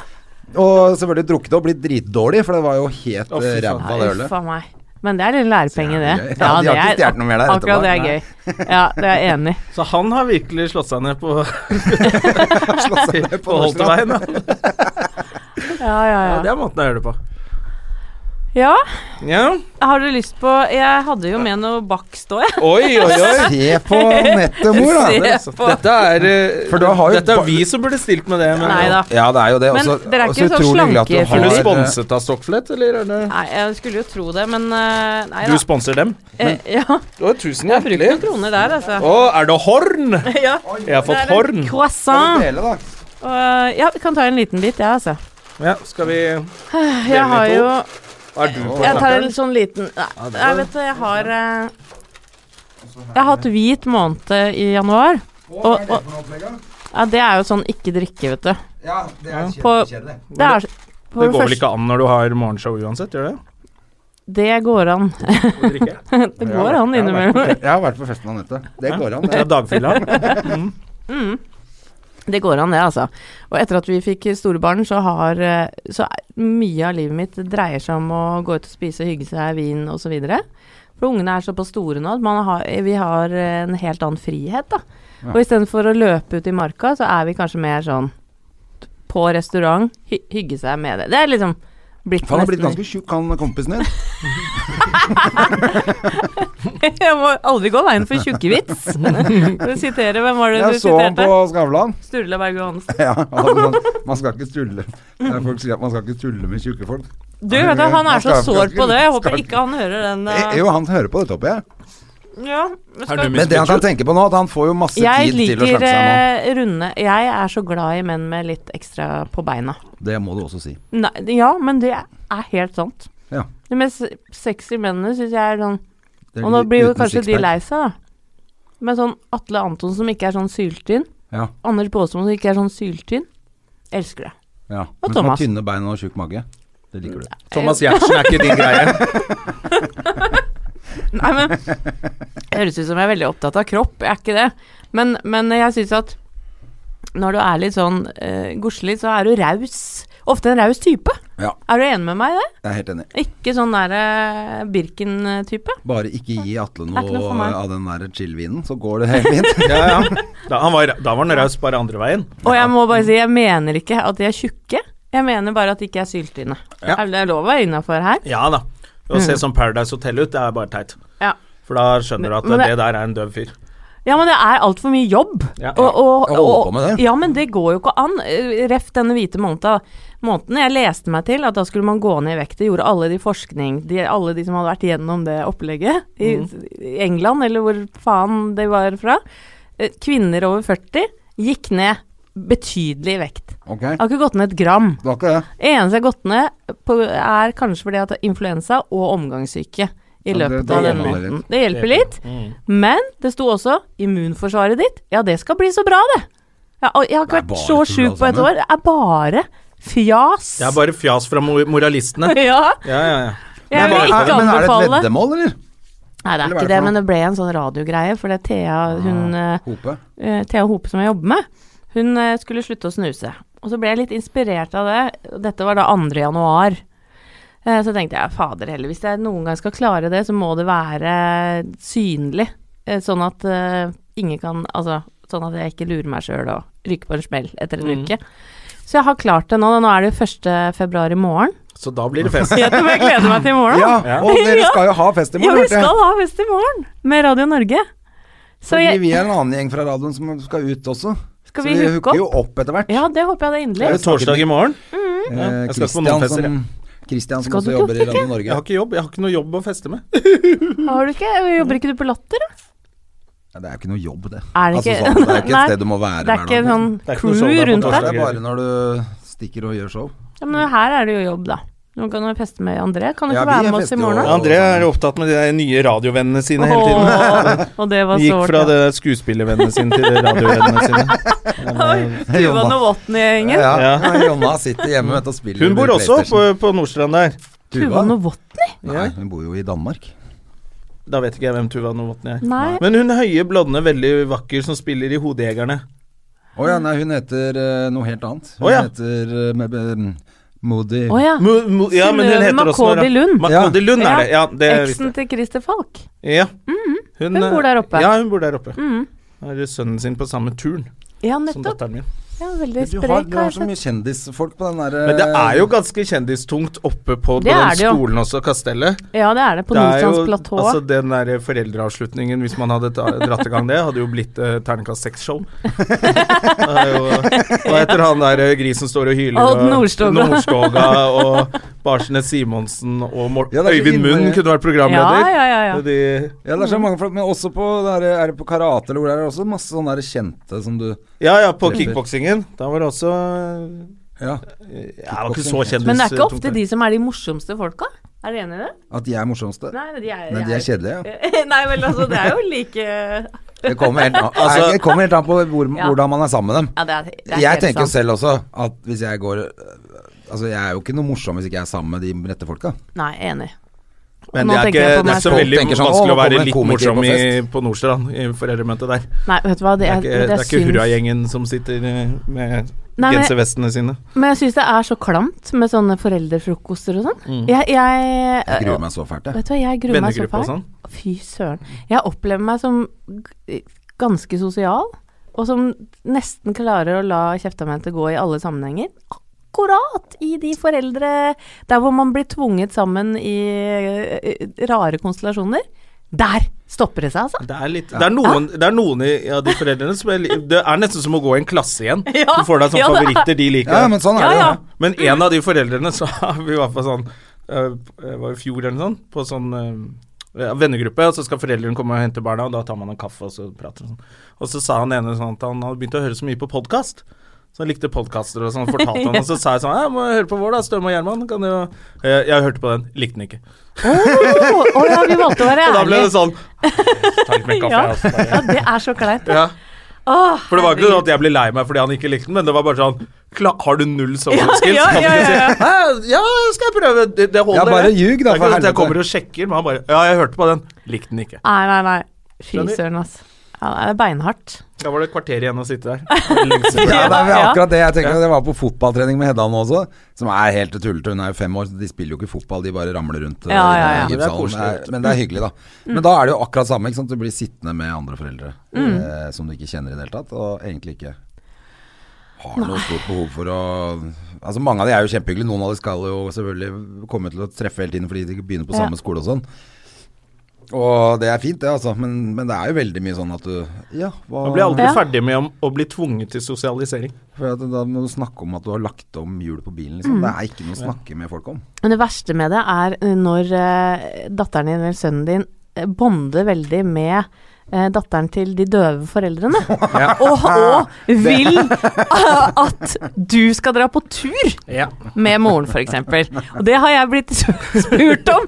Og selvfølgelig drukket og blitt dritdårlig, for det var jo helt Å, fy eh, ræva, faen. Ja, det uff ølet. a meg. Men det er litt lærepenge, det. Jævlig gøy. Ja, de har ikke det er- stjålet noe mer der Akkurat det er etterpå. gøy. Ja, det er jeg enig i. Så han har virkelig slått seg ned på, Slått seg ned på på Nordstrand. Holterveien. da. Ja, Ja, ja, det ja. er måten å gjøre det på. ja, Ja. har du lyst på Jeg hadde jo med noe bakst òg, jeg. Oi, oi, oi. Se på nettet, mor, da. Se på. Dette er, eh, For da har jo dette er ba- vi som burde stilt med det. Men Nei da. Ja, det er jo det. Men Også- dere er også ikke så utrolig hyggelig at du slanke har- er du fyller. sponset av Stockflett, eller er det Nei, jeg skulle jo tro det, men eh, Nei Du da. sponser dem? Eh, Ja, Å, tusen jeg brukte noen hjertelig. kroner der, altså. Å, er det horn? Ja, Jeg har det fått er en horn. Skal vi croissant. dele, da? Og, eh, ja, vi kan ta en liten bit, jeg, ja, altså. Ja, skal vi Jeg har jo Er du på Jeg tar en snakkeren? sånn liten Nei, det jeg vet du, jeg har eh, Jeg har hatt hvit måned i januar. Og, og ja, det er jo sånn ikke drikke, vet du. Ja, det er På- kjempekjedelig. Det er for Det går vel første- ikke an når du har morgenshow uansett, gjør det? Det går an. Å drikke? Det går an Jeg har vært på innimellom. fe- Jeg har vært på festen med Anette. Det går an, Det det. er dagfylla. Det går an, det, altså. Og etter at vi fikk store barn, så har eh, Så er- mye av livet mitt dreier seg om å gå ut og spise, hygge seg, vin osv. For ungene er såpass store nå at man har, vi har eh, en helt annen frihet, da. Og istedenfor å løpe ut i marka, så er vi kanskje mer sånn på restaurant, hy hygge seg med det. Det er liksom blitt For han har blitt nesten- ganske tjukk, han kompisen din. Jeg må aldri gå veien for tjukkevits. For å sitere, hvem var det du Jeg så han på siterte? Skavlan. Sturla Berg Johansen. Ja, han hadde sånn, man skal ikke tulle Det er Folk sier at man skal ikke tulle med tjukke folk. Du, vet du, han er så Skal- sår på det. Jeg håper skal- ikke han hører den. Eh, eh, Jo, han hører på dette oppe, jeg. Ja, Er du Men det han kan tenke på nå, at han får jo masse jeg tid til å liker slappe seg nå. eh, runde Jeg er så glad i menn med litt ekstra på beina. Det må du også si. Nei, ja, men det er helt sant. Ja. De mest sexy mennene syns jeg er sånn Det er Og nå li- blir jo uten kanskje de sixpack. lei seg, da. Men sånn Atle Antonsen som ikke er sånn syltynn. Ja, Anders Baasmo som ikke er sånn syltynn. Elsker det. ja. Og Men som har Thomas. tynne bein og tjukk mage. Det liker du. Thomas Giertsen er ikke din greie. Nei, men Det høres ut som jeg er veldig opptatt av kropp, jeg er ikke det. Men, men jeg syns at når du er litt sånn eh, godslig, så er du raus. Ofte en raus type. Ja, Er du enig med meg i det? jeg er helt enig. Ikke sånn der eh, Birken-type. Bare ikke gi Atle er ikke noe noe for meg. av den der chill-vinen, så går det helt fint. Ja, ja. Da, han var, da var han raus bare andre veien. Og jeg må bare si, jeg mener ikke at de er tjukke. Jeg mener bare at de ikke er syltynne. Ja. Er det lov å være innafor her? Ja da. Å se sånn Paradise Hotel ut, det er bare teit. Ja. For da skjønner du at Men- men det der er en døv fyr. ja, men det er altfor mye jobb. Ja. og, Jeg holder på med det. Ja, men det går jo ikke an. Eh, Ref denne hvite måneden. måneden. Jeg leste meg til at da skulle man gå ned i vekt. Det gjorde alle de forskning, de, alle de som hadde vært gjennom det opplegget i, Mm. i England, eller hvor faen de var fra. Eh, Kvinner over 40 gikk ned betydelig i vekt. Ok, Jeg har ikke gått ned et gram. det var ikke det. Eneste jeg har gått ned på, er kanskje fordi jeg har hatt influensa og omgangssyke i Ja, det- løpet det av denne hjelper måneden. litt. Det hjelper litt. Mm. Men det sto også 'immunforsvaret ditt'. Ja, det skal bli så bra, det. Ja, og jeg har ikke Det er vært bare så tull, altså, sjuk alt på et sammen. år. Det er bare fjas. Det er bare fjas fra mo- moralistene. ja, Ja, ja, ja. Men jeg vil er, men ikke er det et anbefale. veddemål, eller? Nei, det eller hva er er ikke det det, for men det ble en sånn radiogreie. For det er Thea, hun eh, Hope. eh, Thea Hope som jeg jobber med, hun eh, skulle slutte å snuse. Og så ble jeg litt inspirert av det. Dette var da 2. januar. Eh, Så tenkte jeg fader heller, hvis jeg noen gang skal klare det, så må det være synlig. Eh, Sånn at eh, ingen kan Altså sånn at jeg ikke lurer meg sjøl og ryker på en smell etter en uke. Så jeg har klart det nå. da. Nå er det jo 1. februar i morgen. Så da blir det fest. Jeg tror jeg gleder meg til i morgen. Ja, Ja. og dere Ja. skal jo ha fest i Ja, morgen. vi hørte jeg. skal ha fest i morgen med Radio Norge. Så Fordi jeg, vi er en annen gjeng fra radioen som skal ut også. skal så vi vi hooke hooker jo opp? opp etter hvert. Ja, det håper jeg det er Det inderlig. er jo torsdag i morgen. Ja, Eh, jeg skal ikke på noen Christian fester, som, Christian som Skal du også ikke jobber i Radio Jeg Norge. har ikke jobb, jeg har ikke noe jobb å feste med. Har du ikke? Jobber ikke du på Latter, da? Ja, det er jo ikke noe jobb, det. Er Altså, det ikke? sånn, det er ikke Nei, et sted du må være Det er ikke hver dag. liksom. sånn Det er ikke noe show crew der på rundt Det der. torsdag. er bare når du stikker og gjør show. Ja, men her er det jo jobb, da. Nå kan du feste med André. Kan du Ja, ikke vi være er med oss i fester morgen, jo. da? Ja, André er opptatt med de der nye radiovennene sine hele tiden. Åh, Og det var Gikk sårt. fra ja. det skuespillervennene sine til radiovennene sine. eh, Tuva Novotny-gjengen. Ja, ja. Ja. Jonna sitter hjemme vet, du, og spiller Hun bor også PlayStation. på, på Nordstrand der. Tuva Novotny? Nei, hun bor jo i Danmark. Da vet ikke jeg hvem Tuva Novotny er. Nei. Men hun høye, blonde, veldig vakker som spiller i Hodejegerne. Å ja, nei, hun heter eh, noe helt annet. Hun Å ja. heter eh, med, med, Moody Å ja. Mo- mo- Ja, men hun Synnøve heter også noe Makodi rart. Lund. Makodi Lund er det. Ja, det visste Eksen jeg. til Christer Falk. Ja. Hun, Mhm. eh, Hun bor der oppe. Ja, hun bor der oppe. Har sønnen sin på samme turn Ja, som nettopp. datteren min. Ja, veldig Du har, sprek. du har har jeg så sett. mye kjendisfolk på den derre Men det er jo ganske kjendistungt oppe på Det er den det jo. skolen også, Kastellet. Ja, det er det. På Det er jo- Nordstrands platå. Altså Den der foreldreavslutningen, hvis man hadde ta- dratt i gang det, hadde jo blitt eh, terningkast seks-show. Hva heter han der eh, grisen står og hyler? Odd og- Nordstoga. Nordstoga og Barsnes Simonsen og Mor Ja, det er så Øyvind Munn innmari- kunne vært Ja, programleder. ja, ja. ja. Og De, Ja, det er så mange folk, men også på, det her, er det på karate eller hvor det er, er det også masse sånne der kjente som du ja, ja, på kickboksingen. Da var det også Ja, eh, ja, det var ikke så kjendis. Men det er ikke ofte de som er de morsomste folka? Er du enig i det? at de er morsomste. Nei, men de er, Nei, de er kjedelige, ja. Nei vel, altså, det er jo like Det kommer helt an, Altså- det kommer helt an på hvor, Ja. hvordan man er sammen med dem. Ja, det er, det er Jeg helt tenker jo sant. selv også at hvis jeg går øh, Altså, jeg er jo ikke noe morsom hvis ikke jeg er sammen med de rette folka. Nei, enig. Men Nå det er tenker ikke jeg på det er meg så selv. veldig Folk tenker sånn, vanskelig «Å, å være kommer en litt komiker morsom på i, fest?» på Nordstrand i foreldremøtet der. Nei, vet du hva, det Det er er, ikke, det er ikke syns- hurragjengen som sitter eh, med Nei, men- genservestene sine. Men jeg syns det er så klamt med sånne foreldrefrokoster og sånn. Jeg, jeg, øh, Jeg gruer meg så fælt, jeg. Vet du hva, jeg gruer meg Mm. så Vennegruppe og fælt. sånn. Fy søren. Jeg opplever meg som g- ganske sosial, og som nesten klarer å la kjeftamentet gå i alle sammenhenger. Akkurat i de foreldre Der hvor man blir tvunget sammen i eh, rare konstellasjoner. Der stopper det seg, altså. Det er, litt, det, er noen, Ah. det er noen i- av de foreldrene som er, li- Det er nesten som å gå i en klasse igjen. Ja, Du får deg sånne ja, det er- favoritter de liker. Ja, men sånn er Ja, det jo. ja. Men en av de foreldrene så har vi i hvert fall sånn øh, Det var i fjor eller noe sånt, på sånn øh, ja, vennegruppe, og så skal foreldrene komme og hente barna, og da tar man en kaffe og så prater man sånn. Og så sa han ene sånn at han hadde begynt å høre så mye på podkast. Så han likte podkaster og sånn, fortalte han, og så sa jeg sånn Ja, må jeg høre på vår, da, Støme og Gjerman. Kan du jo jeg, jeg hørte på den, likte den ikke. Å å ja, vi valgte å være Og da ble ærlige. det sånn Ta litt mer kaffe, Ja. jeg også. Bare. Ja, det er så kleint. Ja. Åh, For det var ikke herregud. sånn at jeg ble lei meg fordi han ikke likte den, men det var bare sånn «Kla- Har du null social skills? ja, Kan du ja, ikke si, ja, ja. «Hæ, ja, skal jeg prøve. Det, det holder. Ja, bare det.» ljug, da, Det er for ikke sånn at Jeg helvete. kommer og sjekker, men han bare Ja, jeg hørte på den. Likte den ikke. Nei, nei, nei. Fy Skjønner. søren, altså. Ja, det er beinhardt. Da var det et kvarter igjen å sitte der. Lengst. Ja, det er vel Ja. akkurat det jeg tenker. Det var på fotballtrening med Hedda nå også, som er helt tullete. Hun er jo fem år, så de spiller jo ikke fotball, de bare ramler rundt. eh, Ja, i ja, den ja. gymsalen. Det er koselig. Det er- Men det er hyggelig, da. Men da er det jo akkurat samme. Ikke sant? Du blir sittende med andre foreldre Mm. eh, som du ikke kjenner i det hele tatt, og egentlig ikke har noe stort behov for å Altså Mange av de er jo kjempehyggelige. Noen av de skal jo selvfølgelig komme til å treffe hele tiden fordi de begynner på Ja. samme skole og sånn. Og det er fint, det, altså. Men, men det er jo veldig mye sånn at du Ja, hva Man blir aldri Ja. ferdig med å- å bli tvunget til sosialisering. for at Da må du snakke om at du har lagt om hjul på bilen. Liksom. Mm. Det er ikke noe å snakke med folk om. Men det verste med det er eh, når eh, datteren din eller sønnen din eh, bonder veldig med eh, datteren til de døve foreldrene. og, og vil eh, at du skal dra på tur Ja. med moren, f.eks. Og det har jeg blitt spurt om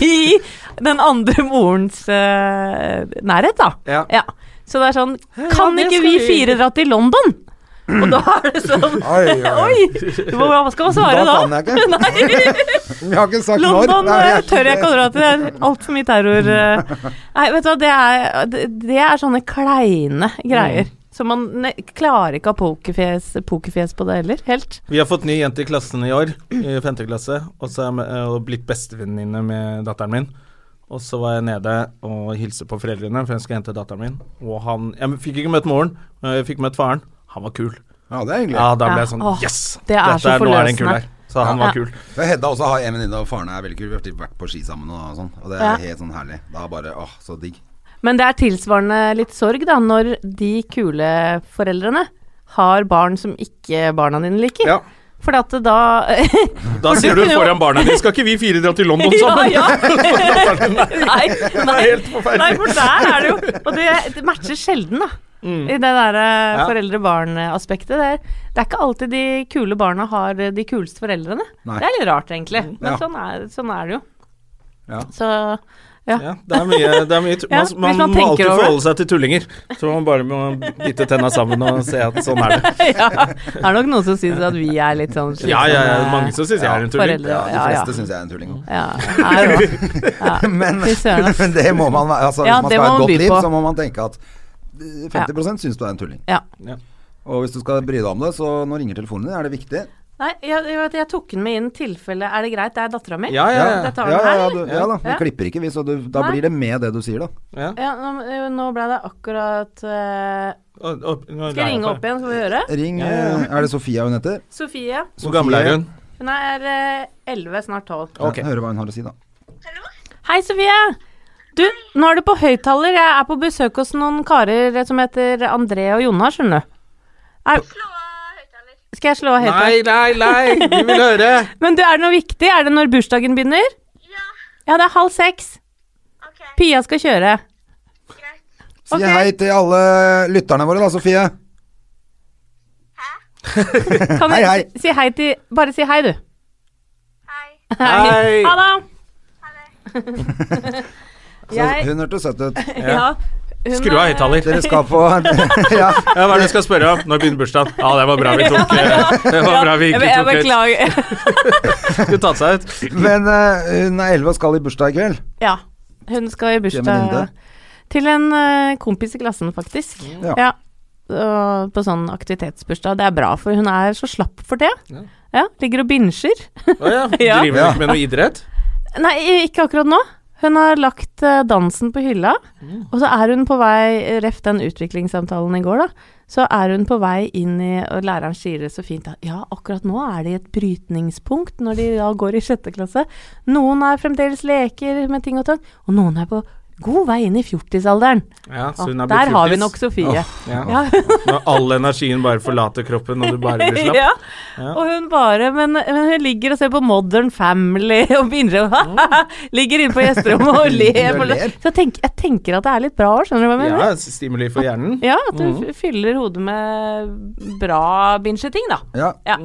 i den andre morens eh, nærhet, da. Ja. Så det er sånn Kan ikke vi fire dra til London? Og da er det sånn Oi, Oi! Hva skal man svare Da da? kan jeg ikke. Nei. Vi har ikke sagt London når. eh, tør jeg ikke å dra til. Det er altfor mye terror. eh. Nei, vet du hva, det er, det- det er sånne kleine Mm. greier. Så man ne klarer ikke å ha pokerfjes, pokerfjes på det heller, helt. Vi har fått ny jente i klassen i år, i femte klasse, og så er jeg med- og blitt bestevenninne med datteren min. Og så var jeg nede og hilste på foreldrene, for jeg skal hente datteren min. Og han Jeg fikk ikke møtt moren, men jeg fikk møtt faren. Han var kul. Ja, det er hyggelig. Ja, da ble Ja. jeg sånn Åh, Yes! det er så nå er det en kul forløsende. her. Så han Ja. var kul. Men Hedda også har en venninne, og faren er veldig kul. Vi har alltid vært på ski sammen og sånn. Og det er Ja. helt sånn herlig. Da er bare åh, så digg. Men det er tilsvarende litt sorg, da, når de kule foreldrene har barn som ikke barna dine liker. Ja. For at da Da sier du foran barna dine Skal ikke vi fire dra til London sammen? Ja, ja. Nei, Sånn. Det nei, er helt forferdelig. nei, for der er det jo Og det, det matcher sjelden, da. I det der eh, Mm. Ja. foreldre-barn-aspektet. Det, er- det er ikke alltid de kule barna har eh, de kuleste foreldrene. Nei. Det er litt rart, egentlig. Mm. Men Ja. sånn, er, sånn er det jo. Ja. Så ja. Ja, det er mye, det er mye tu- Ja, man, hvis man, man må alltid tenker over det. forholde seg til tullinger. Så man bare må bite tenna sammen og se at sånn er det. ja. Det er nok noen som syns at vi er litt sånn Ja, ja, ja. slitsomme Mange som syns jeg er en tulling. Foreldre, De ja, ja. fleste synes syns jeg er en tulling òg. Ja, er jo det. ja. Men, Fy søren, ass. men det må man være. Altså, Ja, hvis man det skal må ha et man godt by liv, på. så må man tenke at eh, 50 syns du er en tulling. Ja. Og hvis du skal bry deg om det, så nå ringer telefonen din, er det viktig. Nei, jeg, jeg, vet, jeg tok den med inn tilfelle Er det greit, det er dattera mi? Ja, ja, ja. Jeg tar ja, den ja, her, ja, eller? du, ja da. Vi Ja. klipper ikke, vi, så du, da Nei. blir det med det du sier, da. Ja. Ja, nå, jo, nå ble det akkurat eh, Og- og- nå Skal jeg lærer jeg ringe på opp igjen, skal vi høre? Ring Ja, ja, ja. eh, Er det Sofia hun heter? Sofie. det. Hvor gammel er hun? Hun er eh, 11, snart 12. Ja, Ok. Høre hva hun har å si, da. Hei, Sofie! Du, nå er du på høyttaler. Jeg er på besøk hos noen karer som heter André og Jonna, skjønner du. Er, skal jeg slå av høyttaler? Nei, nei, nei! Vi vil høre! Men du, er det noe viktig? Er det når bursdagen begynner? Ja. Ja, det er halv seks. Pia skal kjøre. Si Ok. hei til alle lytterne våre, da, Sofie. Kan du Hei, hei. si hei til Bare si hei, du. Hei! Ha det! Så Jeg- hun hørtes søt ut. Ja, hun Skru av er- høyttaler. Dere skal på Ja, Ja, hva er det du skal spørre om? Når begynner bursdagen? Ja, det var bra vi tok eh, Det var bra vi Jeg, ikke jeg tok høyt. beklager. Skulle tatt seg ut. men eh, hun er 11 og skal i bursdag i kveld. Ja. Hun skal i bursdag venninne? til en eh, kompis i klassen, faktisk. Ja. Ja. Og på sånn aktivitetsbursdag. Det er bra, for hun er så slapp for det. Ja. Ja, ligger og binsjer. Å ja. Ja. Driver du ikke med noe idrett? Nei, ikke akkurat nå. Hun har lagt eh, dansen på hylla, Mm. og så er hun på vei, ref den utviklingssamtalen i går, da, så er hun på vei inn i Og læreren sier det så fint at ja, akkurat nå er de i et brytningspunkt når de da går i sjette klasse. Noen er fremdeles leker med ting og tang, og noen er på god vei inn i fjortisalderen. Ja, så Ja, hun er blitt Der har vi fjortis. nok Sofie. Ja. Når all energien bare forlater kroppen, og du bare blir slapp. ja. Og hun bare men, men hun ligger og ser på Modern Family og begynner å Ligger inne på gjesterommet og ler. Hun ler. Så jeg tenker, jeg tenker at det er litt bra òg, skjønner du hva jeg mener? Ja, stimuli for hjernen. Ja, at du f- fyller hodet med bra binge-ting, da. Ja. Ja.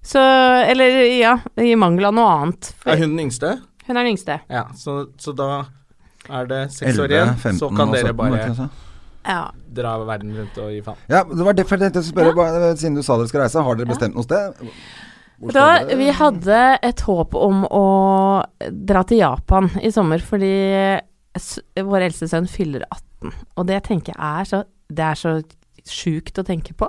Så Eller ja, i mangel av noe annet. For Er hun den yngste? hun er den yngste. Ja, så, så da er det seks 11, år igjen. 15 Så kan og 17, dere altså. var bare det ikke det jeg sa? Ja. dra verden rundt og gi faen. Ja, det var derfor jeg tenkte å spørre, bare, siden du sa dere skal reise, har dere bestemt noe sted? Hvor Da, skal dere? vi hadde et håp om å dra til Japan i sommer, fordi s vår eldste sønn fyller 18. Og det tenker jeg er så Det er så sjukt å tenke på.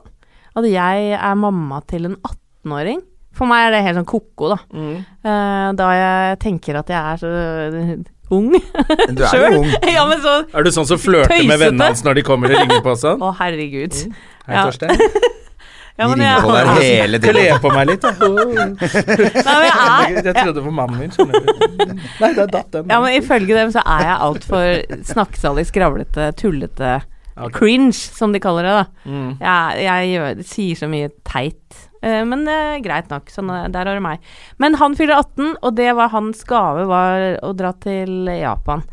At jeg er mamma til en 18-åring. For meg er det helt sånn ko-ko, da. Mm. Eh, da jeg tenker at jeg er så ung Du er jo ung. ja, men så Er du sånn som flørter med Tøysete. vennene hans når de kommer og ringer på og sånn? Å, herregud. Hei, Ja. Torstein. Ja, Mm. Vi men ringer på jeg, der hele tiden. Kle på meg litt, da. Åh. Nei, men jeg er Jeg trodde det var mannen min, skjønner du. Nei, det er datt den. Ja, men ifølge dem så er jeg altfor snakksalig, skravlete, tullete Ok. Mm. cringe, som de kaller det, da. Jeg, jeg gjør, sier så mye teit. Eh, Men eh, greit nok, sånn, eh, der har du meg. Men han fyller 18, og det var hans gave, var å dra til Japan.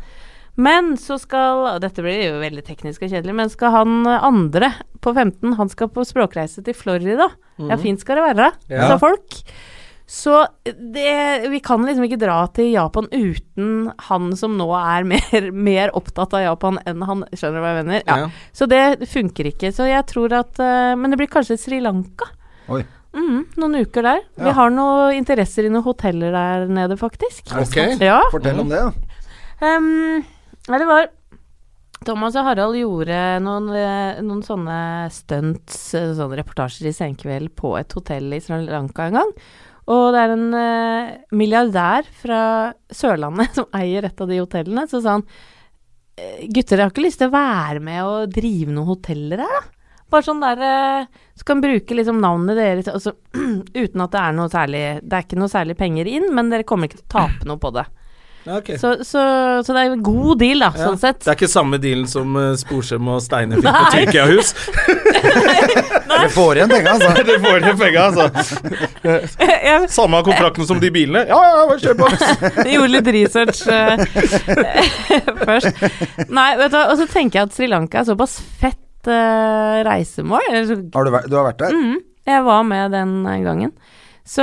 Men så skal og Dette blir jo veldig teknisk og kjedelig, men skal han eh, andre på 15 Han skal på språkreise til Florida. Ja, fint skal det være, Mm. Ja. sa folk. Så det, vi kan liksom ikke dra til Japan uten han som nå er mer, mer opptatt av Japan enn han Skjønner du hva jeg mener? Ja. Ja. Så det funker ikke. Så jeg tror at eh, Men det blir kanskje Sri Lanka. Oi. Mm, noen uker der. Vi har noen interesser i noen hoteller der nede, faktisk. Ok. Ja. Fortell om det, da. Ehm, nei, det var Thomas og Harald gjorde noen, eh, noen sånne stunts, eh, sånne reportasjer i Senkveld på et hotell i Sri Lanka en gang. Og det er en eh, milliardær fra Sørlandet som eier et av de hotellene. Så sa han «Eh, gutter, jeg har ikke lyst til å være med og drive noen hoteller her, da. Bare sånn der eh, Så kan bruke liksom navnet deres altså, uten at det er noe særlig Det er ikke noe særlig penger inn, men dere kommer ikke til å tape noe på det. Ja, ok. Så, så, så det er en god deal, da, Ja. sånn sett. Det er ikke samme dealen som eh, Sporsem og Steine fikk på Nei. Tyrkiahus. Dere får igjen penga, altså. Dere får igjen penga, altså. Jeg Samme kontrakten som de bilene. Ja, ja, bare kjør på. gjorde litt research eh, først. Nei, vet du hva, og så tenker jeg at Sri Lanka er såpass fett eh, reisemål. Eller så Har du, vært, du har vært der? Mhm. Jeg var med den gangen. Så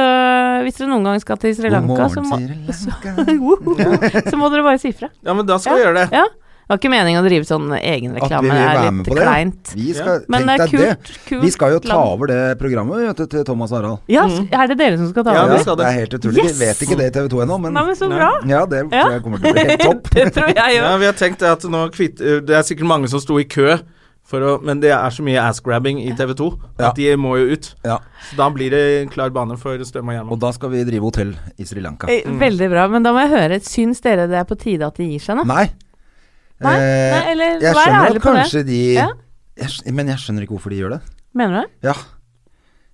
hvis dere noen gang skal til Sri God Lanka, så, må, morgen, Sri Lanka. så må dere bare si fra. Ja, men da skal vi gjøre det. Ja. Det var ikke meningen å drive sånn At egenreklame. vi vil Det er være med litt på det. kleint. Vi skal, Men det tenk er deg det. kult. kult Vi skal jo ta land. over det programmet vet du, til Thomas Harald. Ja, s- er det dere som skal ta Mm. Ja, over? vi skal det det. er helt utrolig. Yes! Vi vet ikke det i TV 2 ennå, men Nei, men så Nei. bra. ja, det Ja. tror jeg kommer til å bli helt topp. det tror jeg Ja, jo. vi har tenkt at nå kvitt, eh, Det er sikkert mange som sto i kø, for å, men det er så mye ass-grabbing i TV 2 Ja. at de må jo ut. Ja. Så da blir det en klar bane for Støm og Og Gjerman. da skal vi drive hotell i Sri Lanka. Eh, Mm. Veldig bra, men da må jeg høre. Syns dere det er på tide at de gir seg nå? Nei. Nei, Eh, nei, eller jeg vær skjønner ærlig at på det. kanskje de Ja. jeg, skj- Men jeg skjønner ikke hvorfor de gjør det. Mener du det? Ja.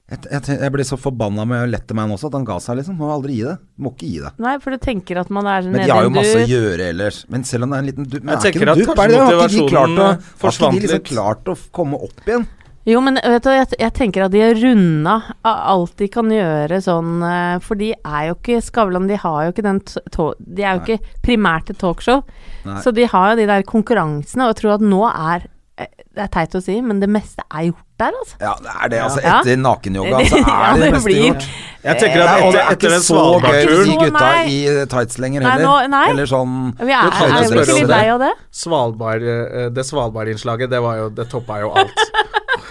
Jeg, jeg, ten- jeg ble så forbanna med Letterman også, at han ga seg, liksom. Må aldri gi det. Må ikke gi det. Nei, for du tenker at man er Men de har jo nede masse å i en dur. gjøre ellers. Men selv om det er en liten dupp Men er Jeg ikke tenker det at dupp, kanskje er det? Har ikke de klart å, motivasjonen har ikke forsvant de liksom litt. klart å f- komme opp igjen? Jo, men eh, vet du, jeg, jeg tenker at de har runda av alt de kan gjøre sånn eh, For de er jo ikke Skavlan, de har jo ikke den t- tå- De er jo ikke primært et talkshow. Nei. Så de har jo de der konkurransene, og jeg tror at nå er eh, Det er teit å si, men det meste er gjort der, altså. Ja, det er det. Altså, Ja. etter nakenyoga, så altså, Ja, er det det meste blir- gjort. Jeg tenker Nei, at og det etter, er etter ikke den så gøy for de Svalbardturen Så, gutta nei. i eh, tights lenger Nei, heller. nå- nei. Eller sånn Vi er, Det er, føles er vi veldig ikke sånn. litt lei av det? Svalbard, eh, Det Svalbard-innslaget, det var jo Det toppa jo alt.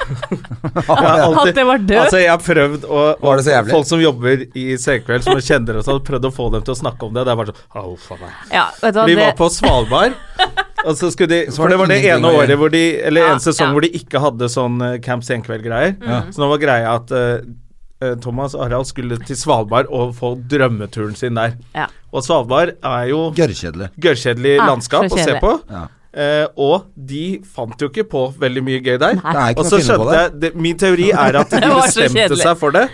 Jeg har ja. alltid- At det var død? Altså, jeg har prøvd å Var det så jævlig? Folk som jobber i Senkveld, som jeg kjenner og sånn, prøvd å få dem til å snakke om det. Det er bare sånn Au, faen meg. Ja, vet du hva, Vi det, var på Svalbard, og så skulle de Så var For det det var det ingenting ene å gjøre. året hvor de Eller Ja, en sesong ja. Mm. hvor de ikke hadde sånn eh, Camp Senkveld-greier. Så nå var greia at eh, eh, Thomas og Harald skulle til Svalbard og få drømmeturen sin der. Ja. Og Svalbard er jo Gørrkjedelig. gørrkjedelig Ah, landskap å så se kjedelig. på. Ja. Eh, og de fant jo ikke på veldig mye gøy der. Det er ikke Og noe så å finne på skjønte der. jeg det, Min teori er at de Det var så bestemte kjedelig. seg for det.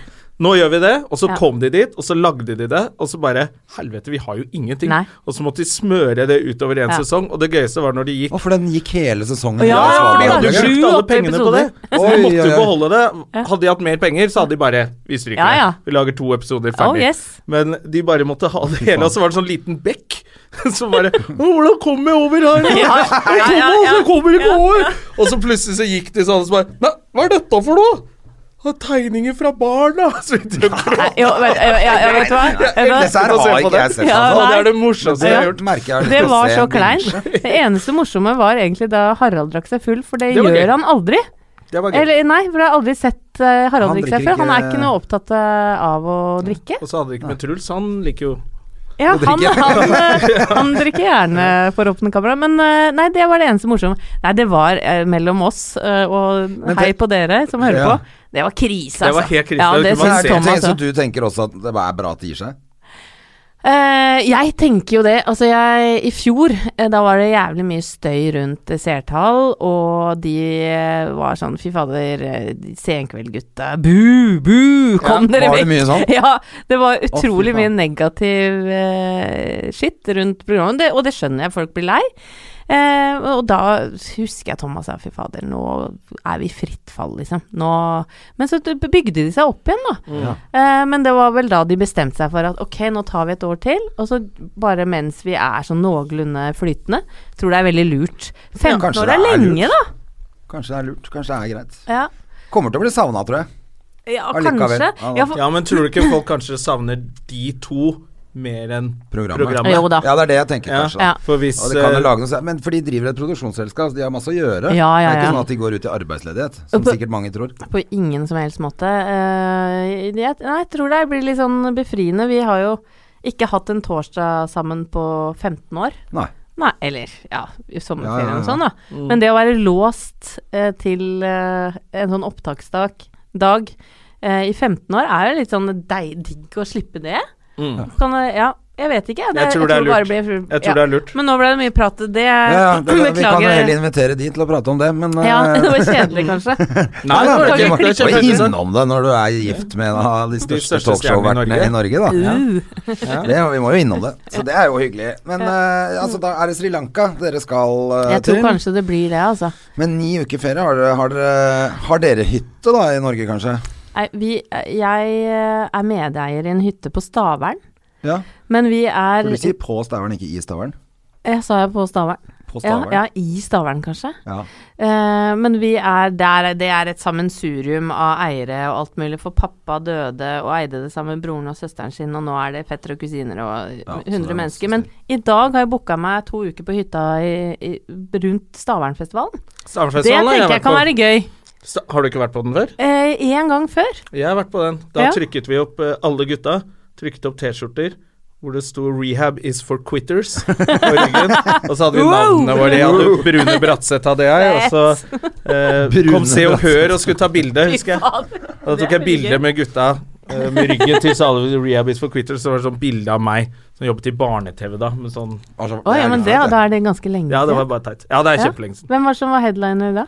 Nå gjør vi det, og så Ja. kom de dit, og så lagde de det, og så bare Helvete, vi har jo ingenting. Nei. Og så måtte de smøre det utover en Ja. sesong, og det gøyeste var når de gikk Å, for den gikk hele sesongen. Ah, Ja, i for ja, de Svalbard. hadde jo Sju, brukt alle åtte pengene på det. episoder. Så de Oi, måtte oi, jo oi. beholde det. Hadde de hatt mer penger, så hadde de bare Vi stryker Ja, ja. det. Vi lager to episoder Oh, ferdig. yes. Men de bare måtte ha det hele, og så var det sånn liten bekk som bare «Å, 'Hvordan kom jeg over her?' nå? Ja, Jeg ja, ja, ja. kommer, jeg kommer ikke over! Og så plutselig så gikk de sånn, og så bare Nei, hva er dette for noe? «Å, Tegninger fra barna! Så begynte de å gråte. jo, vet, ja, ja, ja, vet du hva? Vet du hva? Dette her Sitte og se har på ikke jeg sett. Ja, altså. Og Sånn. det er nei. det morsomste jeg Det har Ja. gjort. merker jeg. Det lyst til å var se så en kleint. bilde. Det eneste morsomme var egentlig da Harald drakk seg full, for det, Det var gjør gøy. han aldri. Det var gøy. Eller nei, for jeg har aldri sett eh, Harald Han drikke drikker seg full. Han er ikke- ikke noe opptatt eh, av å drikke. Og så hadde de ikke med Truls, han liker jo Ja, Og han, drikke. han, eh, han drikker gjerne for åpne kamera, men eh, nei, det var det eneste morsomme. Nei, det var eh, mellom oss, eh, og Men hei det- på dere som hører Ja. på. Det var krise, altså. Det var helt krise, Ja, det det kunne man Men syns er se. det, Thomas tenk, så også. du tenker også at det er bra at det gir seg? Eh, jeg tenker jo det. Altså, jeg I fjor, eh, da var det jævlig mye støy rundt eh, seertall, og de eh, var sånn Fy fader, eh, de Senkveldgutta. Bu, bu, kom Ja, dere var det vekk! mye sånn? Ja, det var utrolig mye faen. negativ eh, shit rundt programmet, det, og det skjønner jeg, folk blir lei. Eh, og da husker jeg Thomas sa fy fader, nå er vi i fritt fall, liksom. Nå... Men så bygde de seg opp igjen, da. Eh, men det var vel da de bestemte seg for at ok, nå tar vi et år til, og så bare mens vi er sånn noenlunde flytende, tror det er veldig lurt. 15 kanskje år er, det er lenge, da. Kanskje det er lurt. Kanskje det er greit. Ja, Kommer til å bli savna, tror jeg. ja Allikevel. kanskje. Ja, da. Ja, for, Ja, men tror du ikke folk kanskje savner de to mer enn Programmet. programmet? Jo da. Ja, det er det jeg tenker, Ja. kanskje. da. Ja. For hvis Og det kan jo eh, lage noe, sær- men for de driver et produksjonsselskap, så de har masse å gjøre. Ja, Det ja, er ikke ja. sånn at de går ut i arbeidsledighet, som Og på- sikkert mange tror. På ingen som helst måte. Eh, jeg, nei, jeg tror det blir litt sånn befriende. Vi har jo ikke hatt en torsdag sammen på 15 år. Nei. Nei, eller ja, i Ja, sommerferien ja, ja. og sånn, da. Men det å være låst eh, til eh, en sånn opptaksdag dag, eh, i 15 år er jo litt sånn dei- digg å slippe det. Mm. Kan, eh, ja, Jeg vet ikke. Det, Jeg tror det er bare lurt. blir, Jeg tror det er lurt. Men nå ble det mye prat. Det Ja, ja, det, vi kan jo heller Beklager. invitere de til å prate om det, men Ja, eh, det var kjedelig, kanskje. Nei, Nei, det nei, men er ikke- du det er må ikke- innom det når du er gift med en av de største, største talkshow-vertene i, stjernene i Norge, da. Det, vi må jo innom det. Så det er jo hyggelig. Men eh, altså, da er det Sri Lanka dere skal eh, Jeg tror til. kanskje det blir det, altså. Men ni uker ferie, har dere, har, dere, har dere hytte da i Norge, kanskje? Nei, vi, jeg eh, er medeier i en hytte på Stavern, Ja. men vi er For du sier på Stavern, ikke i Stavern. Jeg sa jeg på Stavern. På Ja, Stavern. ja, i Stavern, kanskje. Ja. Eh, men vi er der Det er et sammensurium av eiere og alt mulig, for pappa døde og eide det sammen med broren og søsteren sin, og nå er det fettere og kusiner og Ja, så det er masse 100 mennesker. Men i dag har jeg booka meg to uker på hytta i, i, rundt Stavernfestivalen. sånn Det Stavernfestivalen har jeg tenker vært jeg kan på. være gøy. Sta- Har du ikke vært på den før? Eh, en gang før. Jeg har vært på den. Da Ja. trykket vi opp eh, alle gutta. Trykket opp T-skjorter hvor det sto 'Rehab is for quitters' på ryggen. Og så hadde vi navnene våre. Jeg hadde Brune Bratseth hadde jeg. Og så eh, kom Brune Se og Hør og skulle ta bilde, husker jeg. fader. Da tok jeg bilde med gutta eh, med ryggen til så alle 'Rehab is for quitters'. Så var det sånn bilde av meg som jobbet i barne-TV da. Med sånn Altså, Å ja, er men greit, det, da er det ganske lenge Ja, det var bare teit. Ja, det er Ja. kjempelenge siden. Hvem var som var headliner da?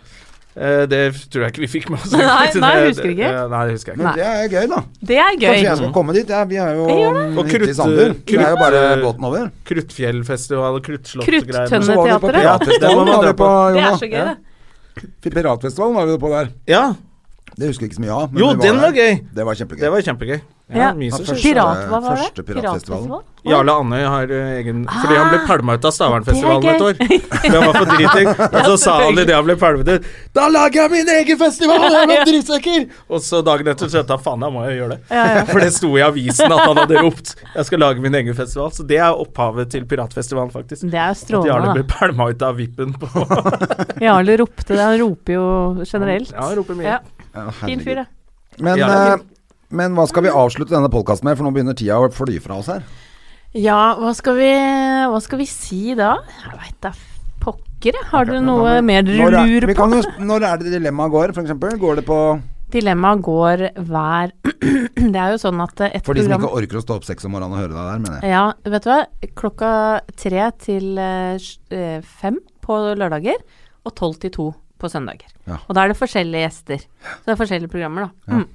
Eh, det tror jeg ikke vi fikk med oss. Nei, Så nei, det- husker ikke. eh, Nei, det husker jeg ikke. Men det er gøy, da. Det er Kanskje gøy. jeg skal komme dit. Ja, vi er jo det. hytte i Og krutt- Sandur. Det er jo bare krutt- båten over. Kruttfjellfestival og kruttslott og greier. Så var vi på Tønneteatret. Ja, det Piratfestivalen. må man var vi dra på, Det er Jonas. så gøy, det. Piratfestivalen var vi på der. Ja, Det husker jeg ikke så mye av. men jo, vi den sånn. var der. gøy. Det var kjempegøy. Det var kjempegøy. Ja. Ja, mye som skjer. Første- Pirat, hva var det? første piratfestivalen. Jarle Andøy har eh, egen Fordi han ble pælma ut av Stavernfestivalen Ah, Det et er år. For han var for driting. Og så sa han idet han ble pælmet ut Da lager jeg min egen festival! Jeg er noen drittsekker! Og så dagen etter så skjønte han faen, da må jeg gjøre det. For det sto i avisen at han hadde ropt 'Jeg skal lage min egen festival'. Så det er opphavet til piratfestivalen, faktisk. Det er At Jarle strålende, ble pælma ut av vippen på da. Jarle ropte det. Han roper jo generelt. Ja, han roper mye. Ja, Ja, Fin herregud. fyr, da. Men, Ja, det er eh, men hva skal vi avslutte denne podkasten med, for nå begynner tida å fly fra oss her. Ja, hva skal vi, hva skal vi si da? Jeg veit da pokker, jeg. Har dere noe mer dere Når er, lurer vi på? kan jo, sp- når er det dilemmaet går, for eksempel? Går det på Dilemmaet går hver Det er jo sånn at eh, et For de som program ikke orker å stå opp seks om morgenen og høre deg der, mener jeg. Ja, vet du hva. Klokka tre til eh, sj- eh, fem på lørdager, og tolv til to på søndager. Ja. Og da er det forskjellige gjester. Så det er forskjellige programmer, da. Mm.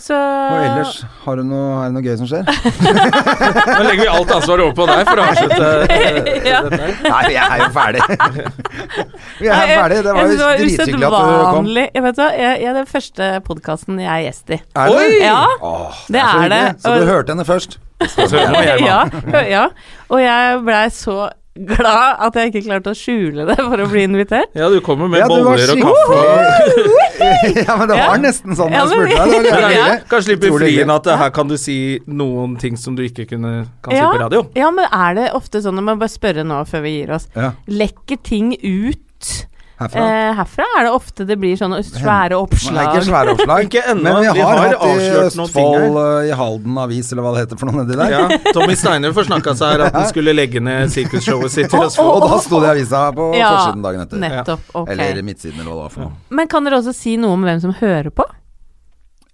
Så Og ellers, har du noe, er det noe gøy som skjer? Nå legger vi alt ansvaret over på deg for å avslutte eh, Ja. dette. her. Nei, jeg er jo ferdig. vi er Nei, ferdig. Det var jeg jo synes drithyggelig at du kom. usedvanlig. Jeg vet hva, jeg, jeg er den første podkasten jeg er gjest i. Er det? Ja, Åh, det så er det. hyggelig. Så du hørte henne først. Så nå må jeg bare- ja, ja. Og jeg blei så glad at jeg ikke klarte å skjule det for å bli invitert. Ja, du kommer med Ja, du var boller og skikkelig- kaffe. og- ja, men det Ja. var nesten sånn Ja, jeg men- spurte deg. Det var Ja, jævlig Ja. hyggelig. Kanskje litt Utrolig befriende hyggelig. at uh, her kan du si noen ting som du ikke kunne, kan si Ja. på radio. Ja, men er det ofte sånn, jeg må bare spørre nå før vi gir oss, Ja, lekker ting ut herfra. eh, herfra? Er det ofte det blir sånne Men svære Det er ikke oppslag? svære oppslag. Ikke ennå, Men vi har, vi har hatt i avslørt noen ting Østfold, eh, i Halden Avis, eller hva det heter for noe nedi der. Ja, Tommy Steiner forsnakka seg her at han skulle legge ned sirkusshowet sitt i Østfold. Og da sto det i avisa på Ja, forsiden dagen etter. Nettopp. Ok. Eller i midtsiden, eller hva det var for noe. Men kan dere også si noe om hvem som hører på?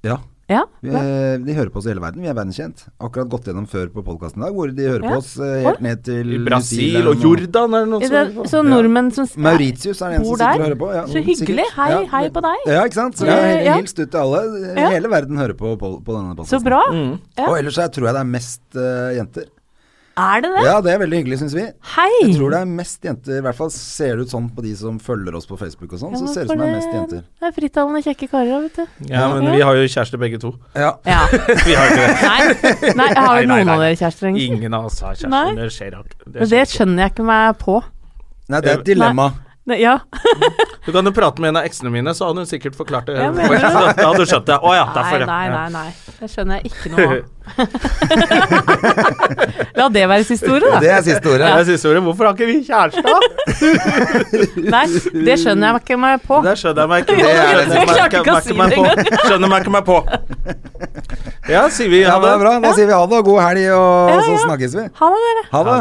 Ja. Ja. Vi, eh, de hører på oss i hele verden. Vi er verdenskjent. Akkurat gått gjennom før på podkasten i dag, hvor de hører Ja. på oss eh, helt ned til I New Brasil Zealand og Jordan er det noen I som det, hører på. så nordmenn som s- Mauritius er det eneste Bor som sitter og der? hører på. Ja, Så hyggelig. sikkert. Hei, Ja. hei på deg. Ja, ikke sant. Så Ja, det er ja. hilst ut til alle. Ja. Hele verden hører på, på, på denne podkasten. Så bra. Ja. Og ellers så tror jeg det er mest eh, jenter. Er det det? Ja, det er veldig hyggelig, syns vi. Jeg Hei! tror det er mest jenter, i hvert fall ser det ut sånn på de som følger oss på Facebook og sånn, Ja, så men ser det ut for som det er det- mest jenter. Det er frittalende kjekke karer, vet du. Ja, men vi har jo kjæreste begge to. Ja. Ja. Vi har ikke det. Nei, nei jeg har Nei, jo nei, noen av nei. dere kjærester. egentlig. Ingen av oss har Nei. kjæreste. Det skjer rart. Det Men Det skjer ikke. skjønner jeg ikke meg på. Nei, det er et dilemma. Nei, ja. Du kan jo prate med en av eksene mine, så hadde hun sikkert forklart det. Ja, mener du? Da hadde du skjønt det. Å ja, Nei, derfor, ja. nei, nei, nei. Det skjønner jeg ikke noe av. La det være siste ordet, Det da. er siste ordet. Det er siste ordet. Hvorfor har ikke vi kjæreste? da? Nei, det skjønner jeg ikke meg på. Det skjønner jeg meg ikke. Det er det. Skjønner Jeg klarte ikke å si meg det på. Skjønner meg ikke meg på. Ja, sier vi Ja, ha men det er bra. Da sier vi ha det, og god helg, og Ja, så ja. snakkes vi. Ha det, dere. Ha det.